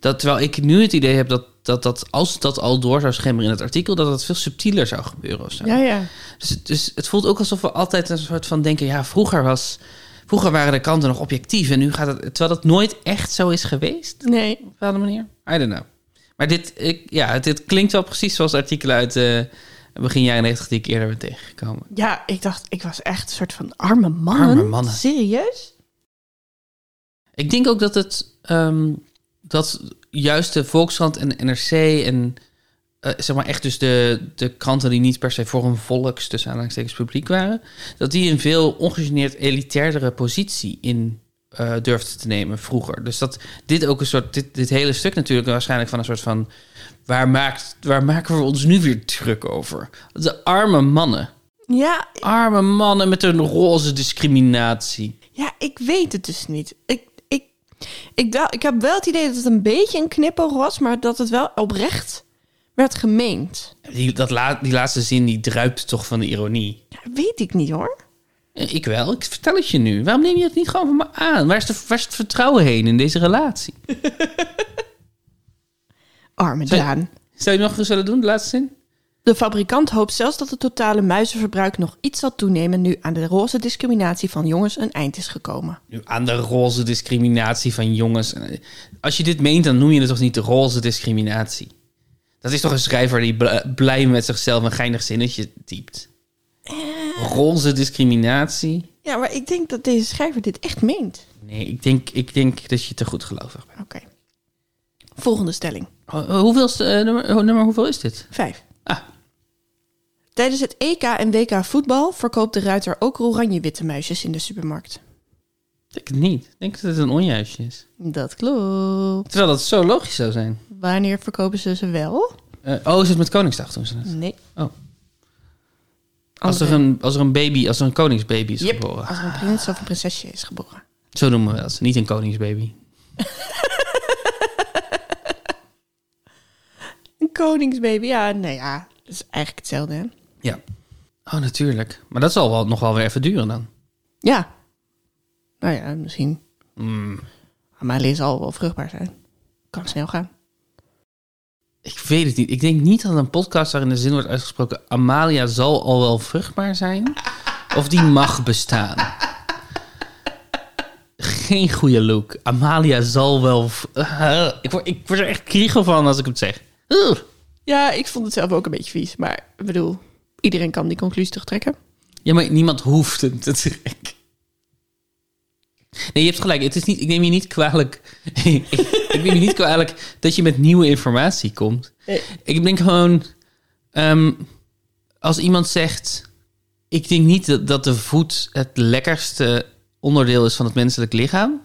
S1: Dat, terwijl ik nu het idee heb dat, dat, dat als dat al door zou schemeren in het artikel, dat dat veel subtieler zou gebeuren of zo.
S2: Ja, ja.
S1: Dus, dus het voelt ook alsof we altijd een soort van denken: ja, vroeger, was, vroeger waren de kanten nog objectief en nu gaat het. Terwijl dat nooit echt zo is geweest
S2: Nee,
S1: op een bepaalde manier. I don't know. Maar dit, ik, ja, dit klinkt wel precies zoals artikelen uit eh, begin jaren 90 die ik eerder ben tegengekomen.
S2: Ja, ik dacht, ik was echt een soort van arme mannen.
S1: Arme mannen.
S2: Serieus?
S1: Ik denk ook dat het ehm, dat juist de Volkskrant en de NRC en eh, zeg maar echt dus de, de kranten die niet per se voor een volks tussen aanhalingstekens publiek waren, dat die een veel ongegeneerd elitairdere positie in eh durfden te nemen vroeger. Dus dat dit ook een soort dit, dit hele stuk natuurlijk waarschijnlijk van een soort van waar maakt waar maken we ons nu weer druk over? De arme mannen,
S2: Ja,
S1: arme mannen met hun roze discriminatie.
S2: ja, ik weet het dus niet. Ik, ik, ik, dou- ik heb wel het idee dat het een beetje een knipoog was, maar dat het wel oprecht werd gemeend.
S1: Die, dat la- die laatste zin die druipt toch van de ironie.
S2: Ja, weet ik niet hoor.
S1: Eh, Ik wel, ik vertel het je nu. Waarom neem je het niet gewoon van me aan? Waar is, de, waar is het vertrouwen heen in deze relatie?
S2: Arme
S1: Zij-
S2: Daan.
S1: Zou je het nog eens willen doen, de laatste zin?
S2: De fabrikant hoopt zelfs dat het totale muizenverbruik nog iets zal toenemen nu aan de roze discriminatie van jongens een eind is gekomen.
S1: Nu, Aan de roze discriminatie van jongens. Als je dit meent, dan noem je het toch niet de roze discriminatie? Dat is toch een schrijver die bl- blij met zichzelf een geinig zinnetje typt? Roze discriminatie?
S2: Ja, maar ik denk dat deze schrijver dit echt meent.
S1: Nee, ik denk, ik denk dat je te goed gelovig bent.
S2: Oké. Volgende stelling.
S1: Ho- Hoeveelste, eh, nummer, ho- nummer hoeveel is dit?
S2: Vijf.
S1: Ah,
S2: Tijdens het EK en WK voetbal verkoopt de ruiter ook oranje-witte muisjes in de supermarkt.
S1: ik denk het niet. Ik denk dat het een onjuistje is.
S2: Dat klopt.
S1: Terwijl dat zo logisch zou zijn.
S2: Wanneer verkopen ze ze wel?
S1: Eh, oh, is het met Koningsdag toen ze dat?
S2: Nee.
S1: Oh. Als er, een, als er een baby, als er een koningsbaby is
S2: Yep,
S1: geboren.
S2: Als er een prins of een prinsesje is geboren.
S1: Zo noemen we dat. Niet een koningsbaby.
S2: Een koningsbaby, ja, nou ja. Dat is eigenlijk hetzelfde, hè?
S1: Ja. Oh, natuurlijk. Maar dat zal wel, nog wel weer even duren dan.
S2: Ja. Nou ja, misschien.
S1: Mm.
S2: Amalie zal wel vruchtbaar zijn. Kan snel gaan.
S1: Ik weet het niet. Ik denk niet dat een podcast waarin de zin wordt uitgesproken... Amalia zal al wel vruchtbaar zijn. Of die mag bestaan. Geen goede look. Amalia zal wel... v- Ah, ik, word, ik word er echt kriegel van als ik het zeg. Ugh.
S2: Ja, ik vond het zelf ook een beetje vies. Maar ik bedoel, iedereen kan die conclusie toch trekken?
S1: Ja, maar niemand hoeft hem te trekken. Nee, je hebt gelijk. Het is niet, ik neem je niet kwalijk. ik, ik neem je niet kwalijk dat je met nieuwe informatie komt.
S2: Nee.
S1: Ik denk gewoon. ehm, als iemand zegt. Ik denk niet dat, dat de voet het lekkerste onderdeel is van het menselijk lichaam.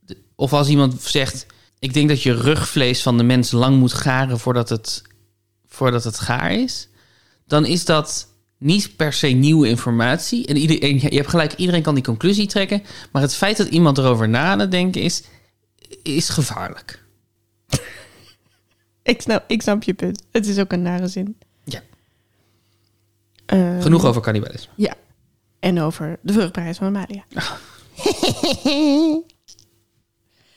S1: De- Of als iemand zegt. Ik denk dat je rugvlees van de mens lang moet garen voordat het, voordat het gaar is dan is dat niet per se nieuwe informatie. En iedereen, je hebt gelijk, iedereen kan die conclusie trekken. Maar het feit dat iemand erover na aan het denken is, is gevaarlijk.
S2: Ik snap, ik snap je punt. Het is ook een nare zin.
S1: Ja.
S2: Eh,
S1: Genoeg over cannibalisme.
S2: Ja. En over de vruchtbaarheid van Amalia.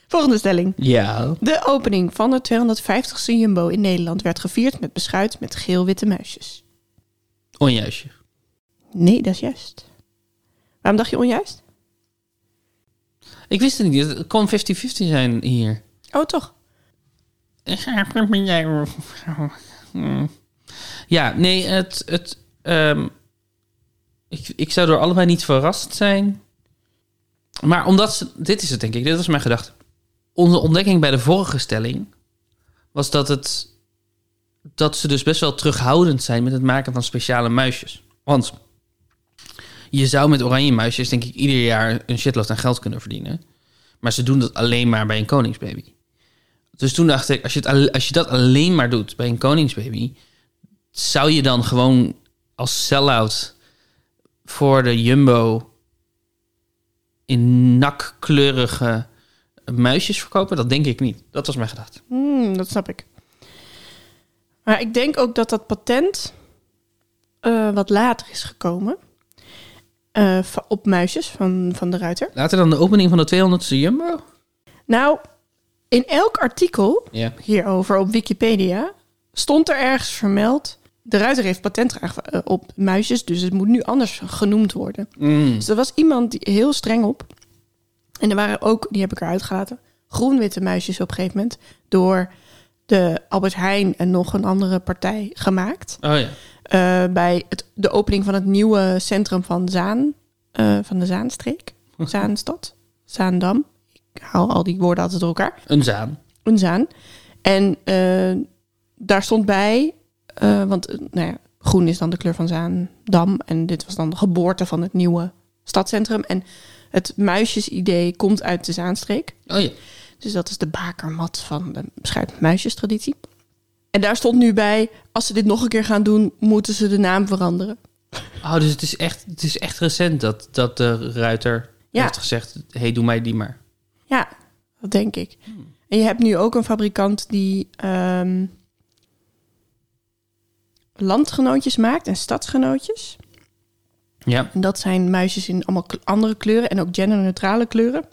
S2: Volgende stelling.
S1: Ja.
S2: De opening van de 250ste Jumbo in Nederland werd gevierd met beschuit met geel-witte muisjes.
S1: Onjuistje.
S2: Nee, dat is juist. Waarom dacht je onjuist?
S1: Ik wist het niet. Het kon 50-50 zijn hier.
S2: Oh, toch?
S1: Ja, nee, het. het ehm, ik, ik zou door allebei niet verrast zijn. Maar omdat ze. Dit is het, denk ik. Dit was mijn gedachte. Onze ontdekking bij de vorige stelling was dat het. Dat ze dus best wel terughoudend zijn met het maken van speciale muisjes. Want je zou met oranje muisjes, denk ik, ieder jaar een shitload aan geld kunnen verdienen. Maar ze doen dat alleen maar bij een koningsbaby. Dus toen dacht ik, als je, het, al- als je dat alleen maar doet bij een koningsbaby, zou je dan gewoon als sell-out voor de Jumbo in nakkleurige muisjes verkopen? Dat denk ik niet. Dat was mijn gedachte.
S2: Hmm, dat snap ik. Maar ik denk ook dat dat patent eh, wat later is gekomen. Eh, va- op muisjes van, van de ruiter.
S1: Later dan de opening van de 200ste Jumbo?
S2: Nou, in elk artikel
S1: Ja.
S2: hierover op Wikipedia stond er ergens vermeld... De ruiter heeft patent aangeva- eh, op muisjes, dus het moet nu anders genoemd worden.
S1: Mm.
S2: Dus er was iemand die heel streng op. En er waren ook, die heb ik eruit gelaten, groen-witte muisjes op een gegeven moment. Door de Albert Heijn en nog een andere partij gemaakt.
S1: Oh ja.
S2: Eh, bij het, de opening van het nieuwe centrum van Zaan. eh, van de Zaanstreek. Zaanstad. Zaandam. Ik haal al die woorden altijd door elkaar.
S1: Een zaan.
S2: Een Zaan. En eh, daar stond bij, eh, want eh, nou ja, groen is dan de kleur van Zaandam. En dit was dan de geboorte van het nieuwe stadcentrum. En het muisjesidee komt uit de Zaanstreek.
S1: Oh ja.
S2: Dus dat is de bakermat van de beschuit met muisjes traditie. En daar stond nu bij, als ze dit nog een keer gaan doen, moeten ze de naam veranderen.
S1: Oh, dus het is echt, het is echt recent dat, dat de ruiter
S2: Ja.
S1: heeft gezegd... hey, doe mij die maar.
S2: Ja, dat denk ik. En je hebt nu ook een fabrikant die ehm, landgenootjes maakt en stadsgenootjes.
S1: Ja.
S2: En dat zijn muisjes in allemaal kle- andere kleuren en ook genderneutrale kleuren.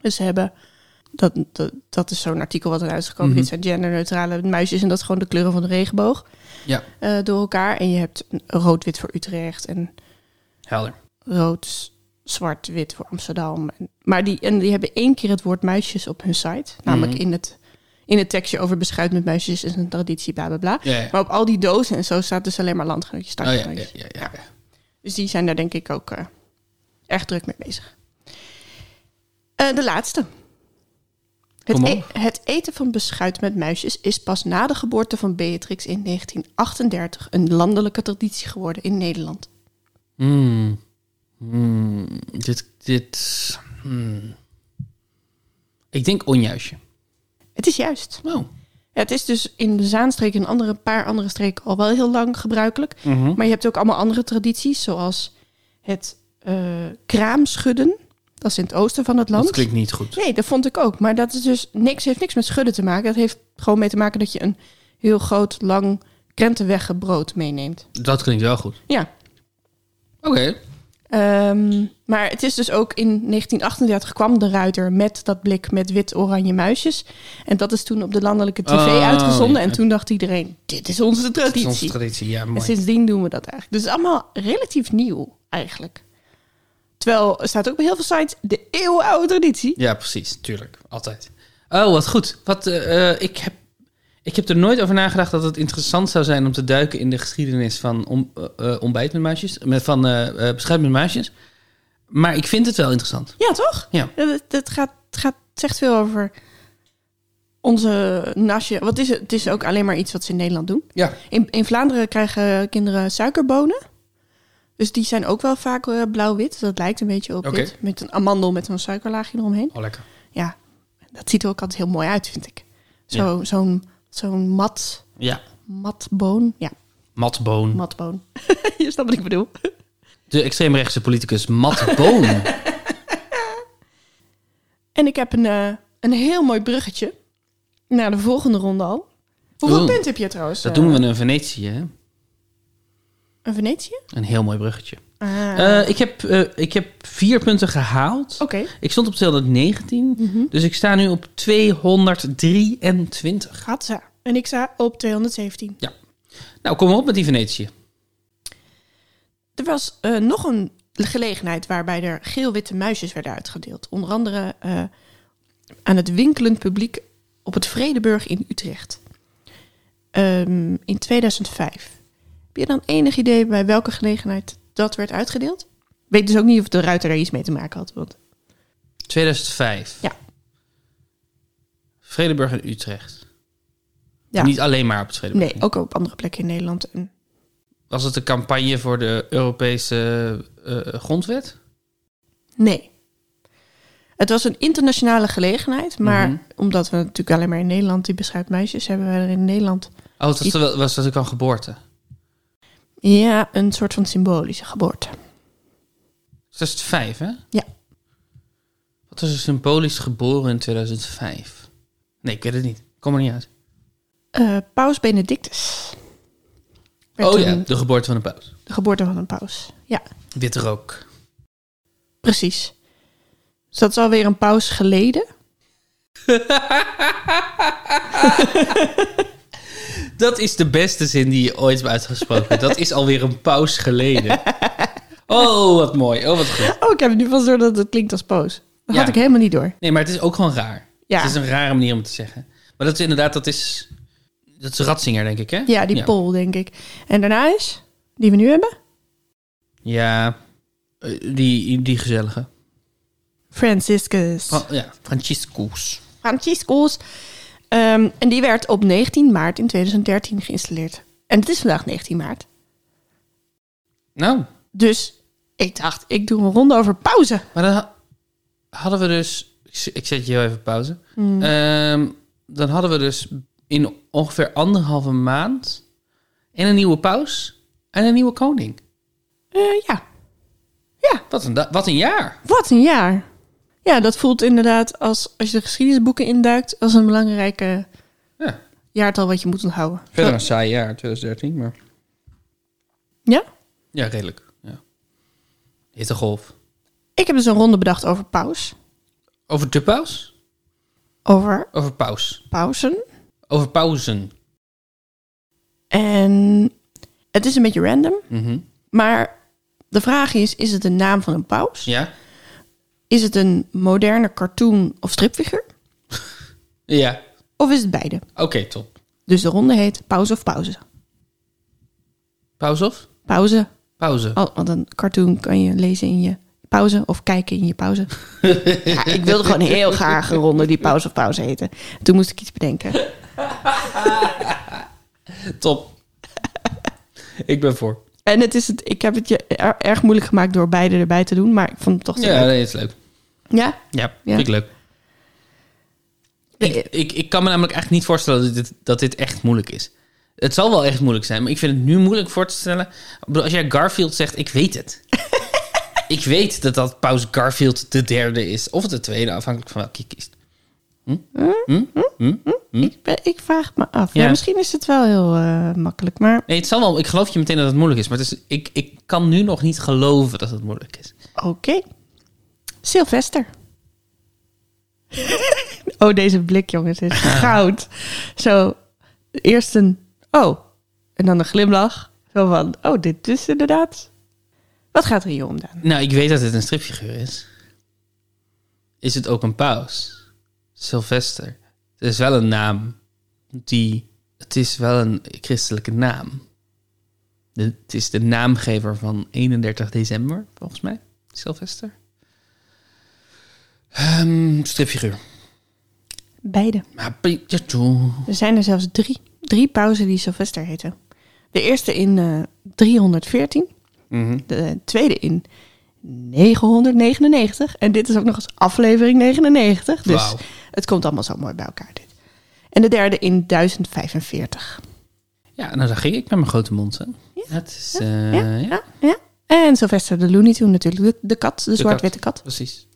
S2: Dus ze hebben, dat, dat, dat is zo'n artikel wat eruit is gekomen.
S1: Mhm.
S2: Dit zijn genderneutrale muisjes en dat is gewoon de kleuren van de regenboog
S1: Ja.
S2: eh, door elkaar. En je hebt een rood-wit voor Utrecht en
S1: Helder.
S2: rood, zwart, wit voor Amsterdam. En- Maar die, en die hebben één keer het woord muisjes op hun site. Namelijk
S1: Mhm.
S2: in, het, in het tekstje over beschuit met muisjes is een traditie, bla bla bla.
S1: Ja, ja.
S2: Maar op al die dozen en zo staat dus alleen maar landgenootjes,
S1: Oh, ja,
S2: stadsgenootjes.
S1: ja, ja, ja, ja.
S2: Dus die zijn daar denk ik ook eh, erg druk mee bezig. Eh, de laatste. Het,
S1: Kom
S2: e-
S1: op.
S2: het eten van beschuit met muisjes is pas na de geboorte van Beatrix in 1938 een landelijke traditie geworden in Nederland.
S1: Mm. Mm. Dit, dit. mm. Ik denk onjuistje.
S2: Het is juist.
S1: Oh.
S2: Het is dus in de Zaanstreek en andere, een paar andere streken al wel heel lang gebruikelijk.
S1: Mhm.
S2: Maar je hebt ook allemaal andere tradities, zoals het eh, kraamschudden. Dat is in het oosten van het land.
S1: Dat klinkt niet goed.
S2: Nee, dat vond ik ook. Maar dat is dus niks, heeft niks met schudden te maken. Dat heeft gewoon mee te maken dat je een heel groot, lang krentenweggebrood meeneemt.
S1: Dat klinkt wel goed.
S2: Ja.
S1: Oké.
S2: Ehm, maar het is dus ook in 1938 kwam de ruiter met dat blik met wit-oranje muisjes. En dat is toen op de landelijke tv
S1: Oh,
S2: uitgezonden.
S1: ja.
S2: En toen dacht iedereen, dit is onze
S1: Dat is
S2: traditie.
S1: onze traditie. Ja,
S2: En
S1: mooi.
S2: sindsdien doen we dat eigenlijk. Dus het is allemaal relatief nieuw eigenlijk. Terwijl, er staat ook bij heel veel sites, de eeuwenoude traditie.
S1: Ja, precies. Tuurlijk. Altijd. Oh, wat goed. Wat, eh, eh, ik, heb, ik heb er nooit over nagedacht dat het interessant zou zijn om te duiken in de geschiedenis van om, eh, eh, ontbijt met muisjes. Met, van eh eh, beschuit met muisjes. Maar ik vind het wel interessant.
S2: Ja, toch?
S1: Ja.
S2: Dat, dat- dat gaat, het gaat, het zegt veel over onze nasje. Wat is het? Het is ook alleen maar iets wat ze in Nederland doen.
S1: Ja.
S2: In, in Vlaanderen krijgen kinderen suikerbonen. Dus die zijn ook wel vaak eh, blauw-wit. Dat lijkt een beetje op
S1: Oké.
S2: dit. Met een amandel met zo'n suikerlaagje eromheen.
S1: Oh, lekker.
S2: Ja, dat ziet er ook altijd heel mooi uit, vind ik. Zo, Zo'n zo'n mat,
S1: Ja.
S2: matboon. Ja,
S1: Matboon.
S2: matboon. Je snapt wat ik bedoel.
S1: De extreemrechtse politicus Matboon.
S2: En ik heb een, eh, een heel mooi bruggetje naar de volgende ronde al. Hoeveel
S1: Oeh.
S2: punten heb je trouwens?
S1: dat
S2: eh,
S1: doen we in Venetië, hè?
S2: Een Venetië?
S1: Een heel mooi bruggetje.
S2: Ah,
S1: Eh, ik, heb, eh, ik heb vier punten gehaald.
S2: Oké. Mhm.
S1: Ik stond op 219, dus ik sta nu op 223.
S2: Gaat ze. En ik sta op 217.
S1: Nou, kom op met die Venetië.
S2: Er was eh, nog een gelegenheid waarbij er geel-witte muisjes werden uitgedeeld. Onder andere eh, aan het winkelend publiek op het Vredeburg in Utrecht. Ehm, in 2005. Heb je dan enig idee bij welke gelegenheid dat werd uitgedeeld? Ik weet dus ook niet of de ruiter daar iets mee te maken had. Want
S1: 2005.
S2: Ja.
S1: Vredeburg en Utrecht.
S2: Ja.
S1: Niet alleen maar op het Vredeburg.
S2: Nee, ook op andere plekken in Nederland. En
S1: Was het de campagne voor de Europese eh, grondwet?
S2: nee. Het was een internationale gelegenheid, maar
S1: Mhm.
S2: omdat we natuurlijk alleen maar in Nederland die beschuit meisjes hebben, we er in Nederland
S1: Oh, het was, de- was dat ook een geboorte?
S2: ja, een soort van symbolische geboorte.
S1: 2005, hè?
S2: Ja.
S1: Wat was er symbolisch geboren in 2005? Nee, ik weet het niet. Kom er niet uit.
S2: Eh, paus Benedictus. Werd
S1: Oh ja,
S2: toen
S1: de geboorte van de paus.
S2: De geboorte van een paus. Ja,
S1: Witte rook.
S2: precies. Dus dat is alweer een paus geleden.
S1: Dat is de beste zin die je ooit hebt uitgesproken. Dat is alweer een paus geleden. Oh, wat mooi. Oh, wat goed.
S2: Oh, ik heb nu pas door dat het klinkt als paus. Dat
S1: Ja.
S2: had ik helemaal niet door.
S1: Nee, maar het is ook gewoon raar.
S2: Ja.
S1: Het is een rare manier om het te zeggen. Maar dat is inderdaad, dat is... Dat is Ratzinger, denk ik, hè?
S2: Ja, die pol, denk ik. En daarna is, die we nu hebben,
S1: Ja, eh, die, die gezellige.
S2: Franciscus.
S1: Fra- ja, Franciscus.
S2: Franciscus. Ehm, en die werd op 19 maart in 2013 geïnstalleerd. En het is vandaag 19 maart.
S1: Nou,
S2: Dus ik dacht, ik doe een ronde over pauze.
S1: Maar dan ha- hadden we dus. ik z- Ik zet je heel even op pauze. Ehm, dan hadden we dus in ongeveer anderhalve maand. En een nieuwe paus. En een nieuwe koning.
S2: Eh, ja,
S1: Wat een, da- wat een jaar.
S2: wat een jaar. Ja, dat voelt inderdaad als, als je de geschiedenisboeken induikt, als een belangrijke
S1: Ja.
S2: jaartal wat je moet onthouden.
S1: Verder een saai jaar, 2013. Maar...
S2: Ja?
S1: Ja, redelijk. Ja. Hittegolf.
S2: Ik heb dus een ronde bedacht over paus.
S1: Over de paus?
S2: Over
S1: Over paus.
S2: pauzen.
S1: Over pauzen.
S2: En het is een beetje random.
S1: Mhm.
S2: Maar de vraag is, is het de naam van een paus?
S1: Ja?
S2: Is het een moderne cartoon of stripfiguur?
S1: Ja.
S2: Of is het beide?
S1: Oké, top.
S2: Dus de ronde heet pauze of pauze.
S1: Pauze of?
S2: Pauze.
S1: Pauze.
S2: Al- Oh, Want een cartoon kan je lezen in je pauze of kijken in je pauze. ja, ik wilde gewoon heel graag een ronde die pauze of pauze heette. Toen moest ik iets bedenken.
S1: Top. ik ben voor.
S2: En het is het, ik heb het je er- erg moeilijk gemaakt door beide erbij te doen, maar ik vond het toch zo
S1: Ja,
S2: leuk.
S1: nee, het is leuk.
S2: Ja?
S1: Ja,
S2: Ja.
S1: vind ik leuk. Ik, ik, ik kan me namelijk eigenlijk niet voorstellen dat dit, dat dit echt moeilijk is. Het zal wel echt moeilijk zijn, maar ik vind het nu moeilijk voor te stellen. Ik bedoel, Als jij Garfield zegt, ik weet het. ik weet dat dat Paus Garfield de derde is. Of de tweede, afhankelijk van welke je kiest.
S2: Ik, ben- ik vraag het me af. Ja.
S1: Hm? Ja.
S2: misschien is het wel heel eh, makkelijk, maar
S1: Nee, het zal wel. Ik geloof je meteen dat het moeilijk is. Maar het is, ik, ik kan nu nog niet geloven dat het moeilijk is.
S2: oké. Sylvester. oh, deze blik, jongens, is goud. Zo, eerst een oh, en dan een glimlach. Zo van, oh, dit is inderdaad... Wat gaat er hier om dan?
S1: Nou, ik weet dat het een stripfiguur is. Is het ook een paus? Sylvester. Het is wel een naam die... Het is wel een christelijke naam. De- het is de naamgever van 31 december, volgens mij. Sylvester. Ehm, Ah, stripfiguur.
S2: Beide.
S1: Maar Pikachu.
S2: Er zijn er zelfs drie, drie pauzen die Sylvester heten. De eerste in eh, 314,
S1: Mhm.
S2: de tweede in 999 en dit is ook nog eens aflevering 99. Dus
S1: Wauw.
S2: het komt allemaal zo mooi bij elkaar dit. En de derde in 1045.
S1: Ja, nou daar ging ik met mijn grote mond. Hè. Ja, het is... eh,
S2: ja,
S1: ja,
S2: ja, ja. En Sylvester de Looney Tune natuurlijk, de, de kat, de, zwart-witte kat.
S1: precies.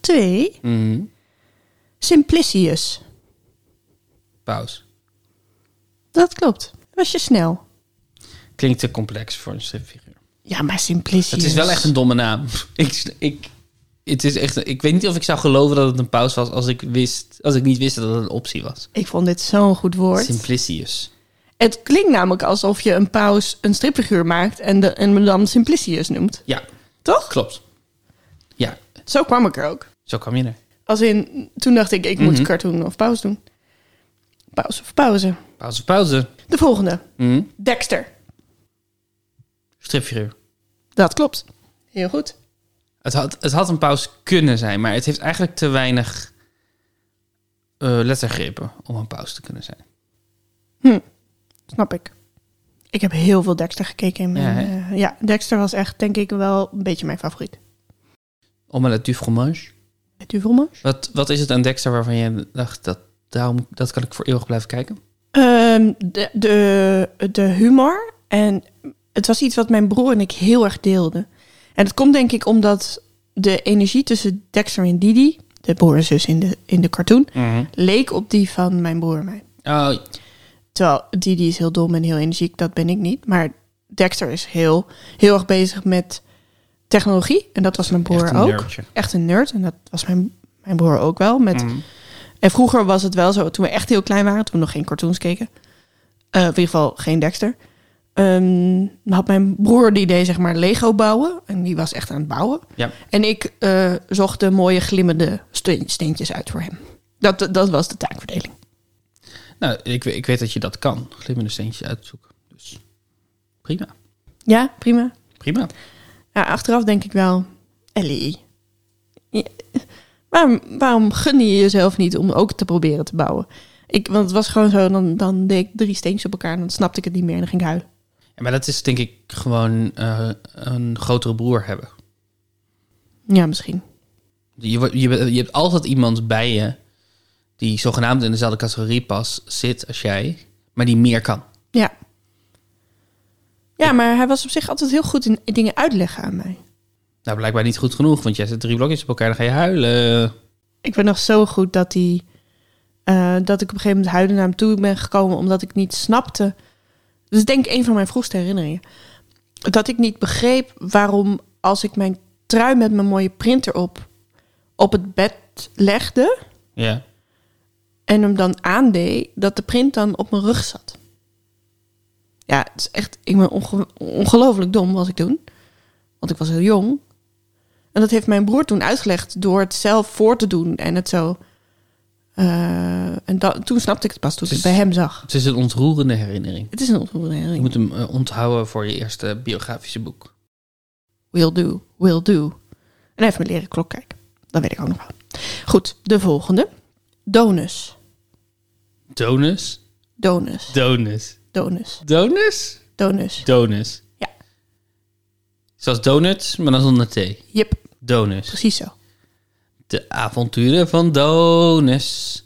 S2: Twee,
S1: Mhm.
S2: Simplicius.
S1: Paus.
S2: Dat klopt. Was je snel?
S1: Klinkt te complex voor een stripfiguur.
S2: Ja, maar Simplicius.
S1: Het is wel echt een domme naam. Ik, ik, het is echt, ik weet niet of ik zou geloven dat het een paus was als ik, wist, als ik niet wist dat het een optie was.
S2: Ik vond dit zo'n goed woord.
S1: Simplicius.
S2: Het klinkt namelijk alsof je een paus een stripfiguur maakt en, de, en hem dan Simplicius noemt.
S1: Ja,
S2: Toch?
S1: klopt. Ja,
S2: Zo kwam ik er ook.
S1: zo kwam je er.
S2: Als in, toen dacht ik, ik
S1: Mhm.
S2: moet cartoon of paus doen. Paus of pauze.
S1: Paus of pauze.
S2: De volgende.
S1: Hm?
S2: Dexter.
S1: Stripfiguur.
S2: Dat klopt. Heel goed.
S1: Het had, het had een paus kunnen zijn, maar het heeft eigenlijk te weinig eh, lettergrepen om een paus te kunnen zijn.
S2: Snap ik. Ik heb heel veel Dexter gekeken. In mijn,
S1: Ja,
S2: ja,
S1: hè?
S2: ja, Dexter was echt denk ik wel een beetje mijn favoriet.
S1: Omelette du fromage.
S2: Met u Vrommers?
S1: Wat, wat is het aan Dexter waarvan jij dacht, dat, daarom, dat kan ik voor eeuwig blijven kijken?
S2: Ehm, de, de, de humor. En het was iets wat mijn broer en ik heel erg deelden. En dat komt denk ik omdat de energie tussen Dexter en Didi, de broer en zus in de, in de cartoon,
S1: Mhm.
S2: leek op die van mijn broer en mij.
S1: Oh,
S2: Terwijl Didi is heel dom en heel energiek, dat ben ik niet. Maar Dexter is heel, heel erg bezig met technologie. En dat was mijn broer
S1: Echt een
S2: ook.
S1: nerdje.
S2: Echt een nerd. En dat was mijn, mijn broer ook wel. Met... En vroeger was het wel zo, toen we echt heel klein waren, toen we nog geen cartoons keken. eh, of in ieder geval geen Dexter. ehm, had mijn broer die deed zeg maar Lego bouwen. En die was echt aan het bouwen.
S1: ja.
S2: En ik eh, zocht de mooie glimmende ste- steentjes uit voor hem. Dat, dat was de taakverdeling.
S1: Nou, ik, we- ik weet dat je dat kan. Glimmende steentjes uitzoeken. Dus prima.
S2: Ja, prima.
S1: Prima.
S2: Ja, achteraf denk ik wel, Ellie, je- waarom, waarom gun je jezelf niet om ook te proberen te bouwen? Ik, want het was gewoon zo, dan, dan deed ik drie steentjes op elkaar en dan snapte ik het niet meer en dan ging ik huilen.
S1: Ja, maar dat is denk ik gewoon eh, een grotere broer hebben.
S2: Ja, misschien.
S1: Je, wordt- je, bent- je hebt altijd iemand bij je die zogenaamd in dezelfde categorie pas zit als jij, maar die meer kan.
S2: Ja. Ja, maar hij was op zich altijd heel goed in dingen uitleggen aan mij.
S1: Nou, blijkbaar niet goed genoeg, want jij zet drie blokjes op elkaar, dan ga je huilen.
S2: Ik ben nog zo goed dat, die, eh, dat ik op een gegeven moment huilen naar hem toe ben gekomen omdat ik niet snapte Dus denk een van mijn vroegste herinneringen. Dat ik niet begreep waarom als ik mijn trui met mijn mooie printer op op het bed legde
S1: Ja.
S2: en hem dan aandeed, dat de print dan op mijn rug zat. Ja, het is echt, ik ben onge- ongelooflijk dom was ik toen. Want ik was heel jong. En dat heeft mijn broer toen uitgelegd door het zelf voor te doen en het zo. eh, en da- toen snapte ik het pas toen ik het bij hem zag.
S1: Het is een ontroerende herinnering.
S2: Het is een ontroerende
S1: Je
S2: herinnering.
S1: moet hem eh, onthouden voor je eerste biografische boek.
S2: Will do, will do. En hij heeft me leren klok kijken. Dat weet ik ook nog wel. Goed, de volgende. Donus.
S1: Donus.
S2: Donus.
S1: Donus.
S2: Donus.
S1: Donus?
S2: Donus.
S1: Donus.
S2: Ja.
S1: Zoals donuts, maar dan zonder thee.
S2: Jip,
S1: Donus.
S2: precies zo.
S1: De avonturen van Donus.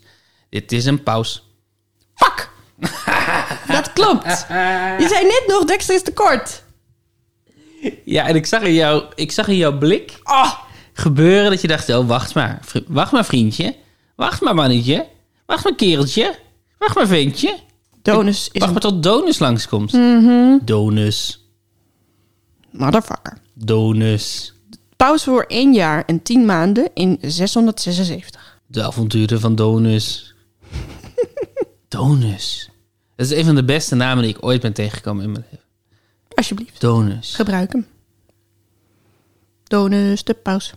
S1: Dit is een paus.
S2: Fuck! dat klopt. Je zei net nog, Dexter is te kort.
S1: Ja, en ik zag in, jou, ik zag in jouw blik
S2: Oh,
S1: gebeuren dat je dacht... Oh, wacht maar. Vri- Wacht maar, vriendje. Wacht maar, mannetje. Wacht maar, kereltje. Wacht maar, ventje.
S2: Donus is Mhm.
S1: Wacht
S2: een
S1: maar tot Donus langskomt. Donus.
S2: motherfucker.
S1: Donus.
S2: Pauze voor één jaar en tien maanden in 676.
S1: De avonturen van Donus. Donus. Dat is een van de beste namen die ik ooit ben tegengekomen in mijn leven.
S2: Alsjeblieft,
S1: Donus.
S2: gebruik hem. Donus de paus.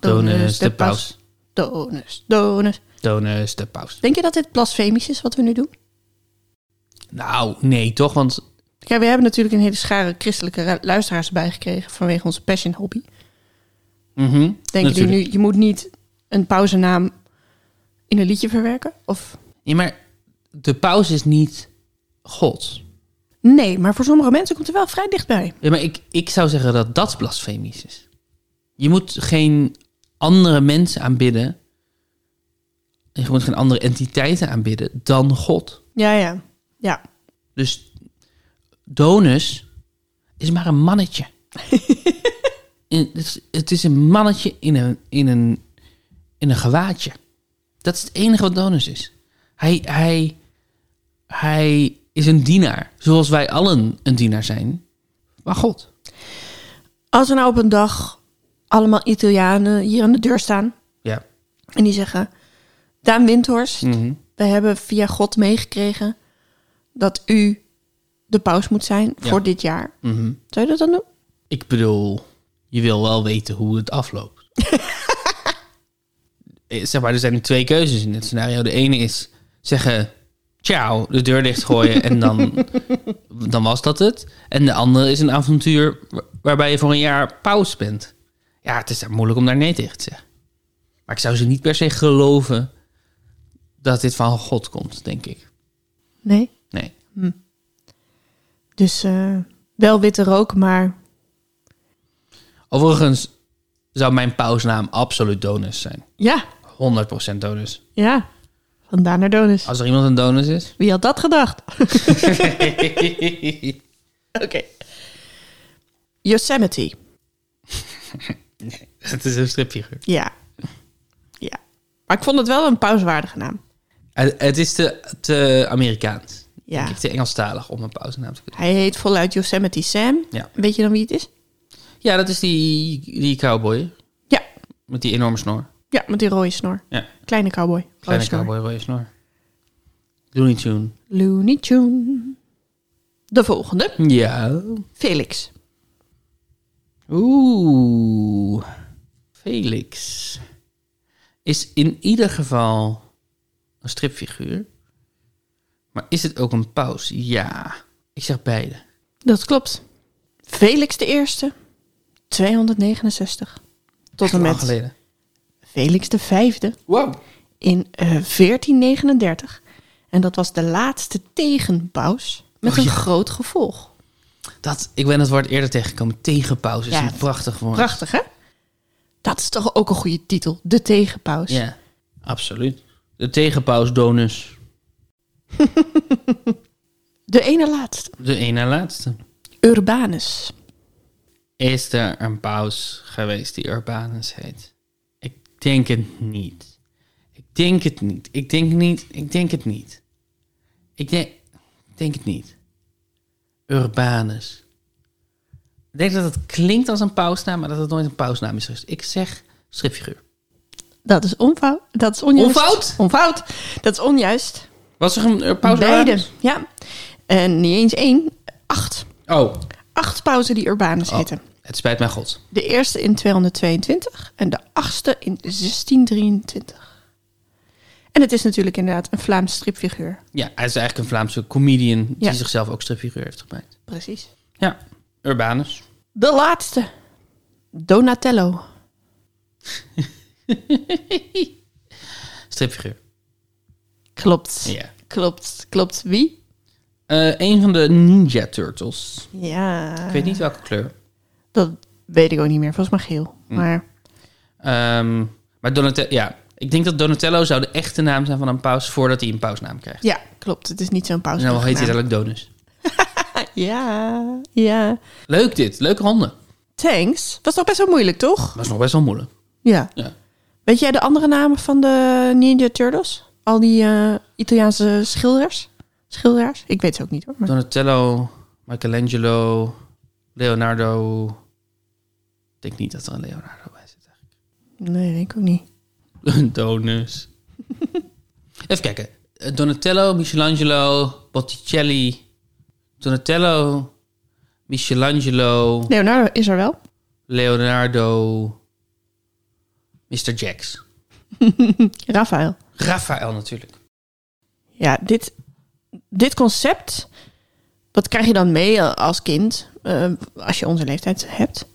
S1: Donus de paus.
S2: Donus, donus.
S1: Donus de paus.
S2: Denk je dat dit blasfemisch is wat we nu doen?
S1: Nou, nee toch, want
S2: Kijk, we hebben natuurlijk een hele schare christelijke ru- luisteraars bijgekregen vanwege onze passion hobby.
S1: mhm,
S2: Denken die
S1: natuurlijk.
S2: nu, je moet niet een pauzenaam in een liedje verwerken? Of
S1: Ja, maar de paus is niet God.
S2: nee, maar voor sommige mensen komt er wel vrij dichtbij.
S1: Ja, maar ik, ik zou zeggen dat dat blasfemisch is. Je moet geen andere mensen aanbidden. Je moet geen andere entiteiten aanbidden dan God.
S2: Ja, ja, ja.
S1: Dus Donus is maar een mannetje. En het, is, het is een mannetje in een, in, een, in een gewaadje. Dat is het enige wat Donus is. Hij, hij, hij is een dienaar, zoals wij allen een dienaar zijn. Maar God.
S2: Als er nou op een dag allemaal Italianen hier aan de deur staan
S1: Ja.
S2: en die zeggen: Daan Windhorst, we hebben via God meegekregen dat u de paus moet zijn
S1: Ja.
S2: voor dit jaar. Zou je dat dan doen?
S1: Ik bedoel, je wil wel weten hoe het afloopt. Eh, zeg maar, er zijn twee keuzes in dit scenario. De ene is zeggen, ciao, de deur dichtgooien en dan, dan was dat het. En de andere is een avontuur wa- waarbij je voor een jaar pauze bent. Ja, het is daar moeilijk om daar nee tegen te zeggen. Maar ik zou ze niet per se geloven dat dit van God komt, denk ik.
S2: Nee.
S1: Nee.
S2: Dus eh, wel witte rook, maar
S1: Overigens zou mijn pausnaam absoluut Donus zijn.
S2: ja,
S1: 100% Donus.
S2: ja. Vandaan naar Donus.
S1: Als er iemand een donus is.
S2: Wie had dat gedacht? Oké. Yosemite.
S1: Het is een stripfiguur.
S2: Ja. Ja. Maar ik vond het wel een pauswaardige naam.
S1: Het, het is te, te Amerikaans.
S2: Ja.
S1: Denk ik, te Engelstalig om een pauzenaam te kunnen.
S2: Hij heet voluit Yosemite Sam.
S1: Ja.
S2: Weet je dan wie het is?
S1: Ja, dat is die, die cowboy.
S2: Ja.
S1: Met die enorme snor.
S2: Ja, met die rode snor.
S1: Ja,
S2: Kleine cowboy. Rode
S1: kleine
S2: snor.
S1: cowboy, rode snor. Looney Tune.
S2: Looney Tune. De volgende.
S1: Ja.
S2: Felix.
S1: Oeh. Felix. Is in ieder geval een stripfiguur. Maar is het ook een paus? Ja. Ik zeg beide.
S2: Dat klopt. Felix de Eerste. 269. Tot en
S1: Lang
S2: met
S1: geleden.
S2: Felix de Vijfde.
S1: Wow.
S2: in eh, 1439. En dat was de laatste tegenpaus met
S1: Oh,
S2: een
S1: ja.
S2: groot gevolg.
S1: Dat, ik ben het woord eerder tegengekomen. Tegenpauze is
S2: Ja,
S1: een prachtig woord.
S2: Prachtig, hè? Dat is toch ook een goede titel, de tegenpaus.
S1: Ja, absoluut. De tegenpauze donus.
S2: De ene laatste,
S1: De een na laatste.
S2: Urbanus.
S1: Is er een paus geweest die Urbanus heet? Ik denk het niet. Ik denk het niet. Ik denk niet. Ik denk het niet. Ik denk, ik denk het niet. Urbanus. Ik denk dat het klinkt als een pausnaam, maar dat het nooit een pausnaam is geweest. Ik zeg stripfiguur.
S2: Dat is onfout. Dat is onjuist.
S1: Onfout?
S2: Onfout. Dat is onjuist.
S1: Was er een eh, paus
S2: Beide.
S1: Urbanus?
S2: Ja. En niet eens één. Acht.
S1: Oh.
S2: Acht pauzen die Urbanus
S1: Oh.
S2: heten.
S1: het spijt mij god.
S2: De eerste in 222 en de achtste in 1623. En het is natuurlijk inderdaad een Vlaams stripfiguur.
S1: Ja, hij is eigenlijk een Vlaamse comedian die
S2: Ja.
S1: zichzelf ook stripfiguur heeft gemaakt.
S2: Precies.
S1: Ja, Urbanus.
S2: De laatste. Donatello.
S1: Stripfiguur.
S2: Klopt.
S1: Ja.
S2: Klopt. Klopt. Wie?
S1: Eh, een van de Ninja Turtles.
S2: Ja.
S1: Ik weet niet welke kleur.
S2: Dat weet ik ook niet meer. Volgens mij geel.
S1: Hm.
S2: Maar
S1: Ehm, maar Donatello, ja. Ik denk dat Donatello zou de echte naam zijn van een paus voordat hij een pausnaam krijgt.
S2: ja, klopt. Het is niet zo'n pauze.
S1: En dan Nou, heet hij dadelijk Donus.
S2: Ja. Ja.
S1: Leuk dit, leuke ronde.
S2: Thanks. Was toch best wel moeilijk, toch?
S1: Dat is nog best wel moeilijk.
S2: Ja.
S1: Ja.
S2: Weet jij de andere namen van de Ninja Turtles? Al die eh, Italiaanse schilders? Schilderaars? Ik weet ze ook niet hoor. Maar...
S1: Donatello, Michelangelo, Leonardo. Ik denk niet dat er een Leonardo bij zit.
S2: Nee, denk ik ook niet.
S1: Een donus. Even kijken. Eh, Donatello, Michelangelo, Botticelli. Donatello, Michelangelo,
S2: Leonardo is er wel.
S1: Leonardo, Mr. Jax.
S2: Raphaël.
S1: Raphaël natuurlijk.
S2: Ja, dit, dit concept, wat krijg je dan mee eh, als kind? eh, als je onze leeftijd hebt.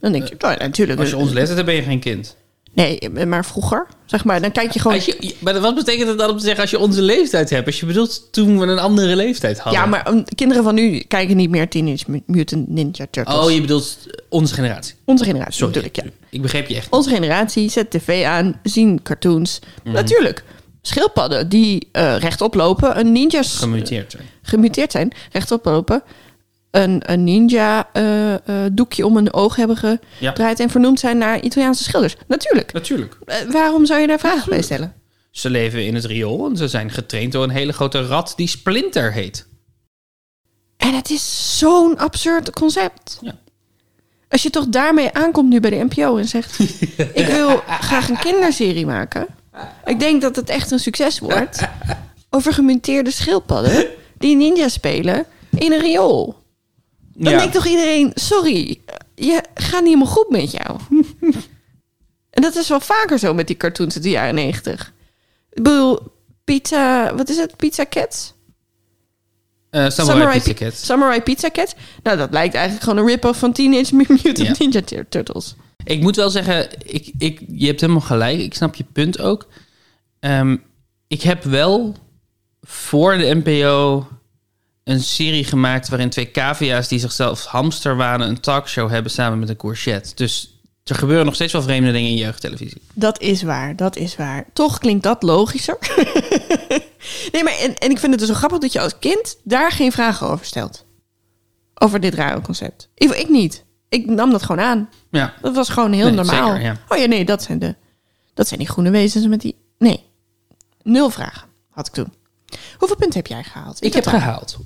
S2: Dan denk je, nou, ja, natuurlijk.
S1: Eh, Als je ons leest, dan ben je geen kind.
S2: Nee, eh, maar vroeger. Zeg maar, dan kijk je gewoon...
S1: Als je, maar wat betekent het dan om te zeggen als je onze leeftijd hebt? Als je bedoelt toen we een andere leeftijd hadden.
S2: Ja, maar um, kinderen van nu kijken niet meer Teenage Mut- Mutant Ninja Turtles.
S1: Oh, je bedoelt onze generatie.
S2: Onze generatie
S1: Sorry.
S2: natuurlijk, ja.
S1: Ik begreep je echt.
S2: Onze generatie zet tv aan, zien cartoons.
S1: Mhm.
S2: Natuurlijk, schildpadden die eh, rechtop lopen, een ninjas
S1: Gemuteerd. sorry.
S2: gemuteerd zijn, rechtop lopen, een, een ninja eh, eh, doekje om hun oog hebben gedraaid en vernoemd zijn naar Italiaanse schilders. Natuurlijk.
S1: Natuurlijk.
S2: Eh, waarom zou je daar vragen bij stellen?
S1: Ze leven in het riool en ze zijn getraind door een hele grote rat die Splinter heet.
S2: En het is zo'n absurd concept.
S1: Ja.
S2: Als je toch daarmee aankomt nu bij de NPO en zegt: Ik wil graag een kinderserie maken. Ik denk dat het echt een succes wordt. Over gemunteerde schildpadden die ninja spelen in een riool. Dan denkt toch iedereen: Sorry, je gaat niet helemaal goed met jou. en dat is wel vaker zo met die cartoons uit de jaren negentig. Ik bedoel, pizza, wat is het? Pizza Cats?
S1: Eh, Samurai Pizza
S2: Pi-
S1: Cat.
S2: Samurai Pizza Cat. Nou, dat lijkt eigenlijk gewoon een rip-off van Teenage Mutant
S1: Ja.
S2: Ninja Tur- Turtles.
S1: Ik moet wel zeggen, ik, ik, je hebt helemaal gelijk. Ik snap je punt ook. Ehm, ik heb wel voor de NPO een serie gemaakt waarin twee cavia's die zichzelf hamster wanen een talkshow hebben samen met een courgette. Dus er gebeuren nog steeds wel vreemde dingen in jeugdtelevisie.
S2: Dat is waar, dat is waar. Toch klinkt dat logischer. nee, maar en, en ik vind het dus zo grappig dat je als kind daar geen vragen over stelt. Over dit rare concept. Ik, ik niet. Ik nam dat gewoon aan.
S1: Ja,
S2: Dat was gewoon heel
S1: Nee,
S2: normaal.
S1: zeker, ja.
S2: Oh ja, nee, dat zijn, de, dat zijn die groene wezens met die... Nee, nul vragen had ik toen. Hoeveel punten heb jij gehaald?
S1: ik heb
S2: gehaald.
S1: gehaald.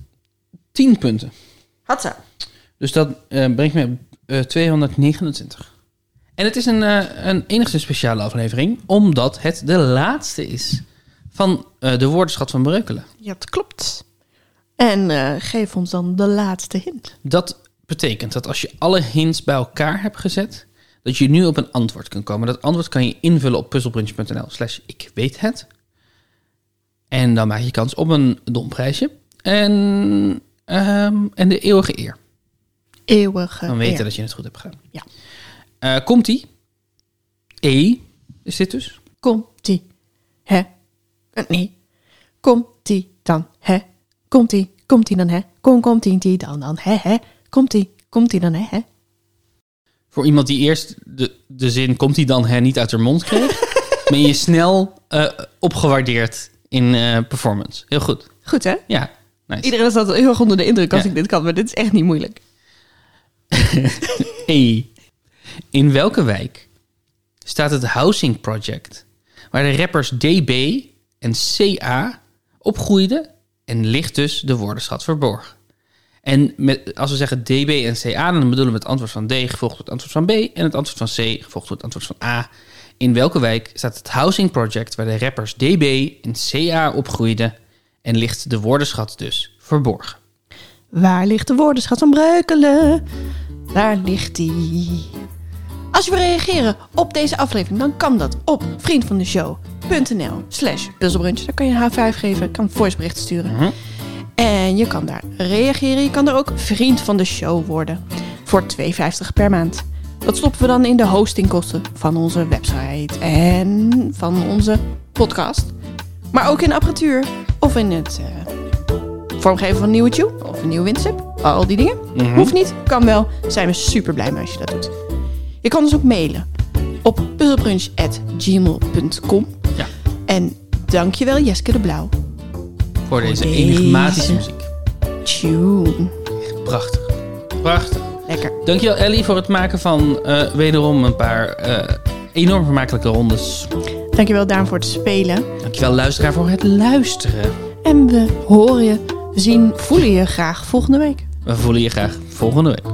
S1: 10 punten.
S2: Hatsa.
S1: Dus dat eh, brengt me op eh, 229. En het is een, eh, een enigszins speciale aflevering, omdat het de laatste is van eh, de woordenschat van Breukelen.
S2: Ja, dat klopt. En eh, geef ons dan de laatste hint.
S1: Dat betekent dat als je alle hints bij elkaar hebt gezet, dat je nu op een antwoord kunt komen. Dat antwoord kan je invullen op puzzelbrunch.nl slash ik weet het. En dan maak je kans op een domprijsje. En, ehm, en de eeuwige eer.
S2: Eeuwige.
S1: Dan weten
S2: eer.
S1: dat je het goed hebt gedaan.
S2: Ja.
S1: Eh, komt ie? E is dit dus.
S2: Komt-ie. Hè? Eh, Nee. Komt-ie dan, hè? Komt-ie, komt-ie dan, hè? Kom, komt-ie die dan, dan, hè, hè? Komt-ie, komt-ie dan, hè, hè?
S1: Voor iemand die eerst de, de zin komt die dan hè niet uit haar mond kreeg, ben je snel eh, opgewaardeerd in eh, performance. Heel goed.
S2: Goed, hè?
S1: Ja, nice.
S2: Iedereen staat heel erg onder de indruk als
S1: Ja.
S2: ik dit kan, maar dit is echt niet moeilijk.
S1: E. In welke wijk staat het Housing Project, waar de rappers DB en CA opgroeiden en ligt dus de woordenschat verborgen? En met, als we zeggen DB en CA, dan bedoelen we het antwoord van D gevolgd door het antwoord van B en het antwoord van C gevolgd door het antwoord van A. In welke wijk staat het Housing Project waar de rappers DB en CA opgroeiden en ligt de woordenschat dus verborgen?
S2: Waar ligt de woordenschat van Breukelen? Daar ligt die. Als je wil reageren op deze aflevering, dan kan dat op vriendvandeshow.nl slash puzzelbrunch. Daar kan je een H5 geven, kan een voicebericht sturen.
S1: Mhm.
S2: En je kan daar reageren. Je kan er ook vriend van de show worden. Voor 2,50 per maand. Dat stoppen we dan in de hostingkosten van onze website en van onze podcast. Maar ook in apparatuur of in het eh, vormgeven van een nieuwe tune of een nieuwe windstip. Al die dingen.
S1: Mhm.
S2: Hoeft niet, kan wel. Zijn we super blij mee als je dat doet. Je kan dus ook mailen op puzzelbrunch.gmail.com.
S1: Ja.
S2: En dankjewel Jeske de Blauw.
S1: Voor deze
S2: deze.
S1: enigmatische muziek.
S2: Tune.
S1: Prachtig. Prachtig.
S2: Lekker.
S1: Dankjewel Ellie voor het maken van eh, wederom een paar eh, enorm vermakelijke rondes.
S2: Dankjewel Daan voor het spelen.
S1: Dankjewel luisteraar voor het luisteren.
S2: En we horen je, zien, voelen je graag volgende week.
S1: We voelen je graag volgende week.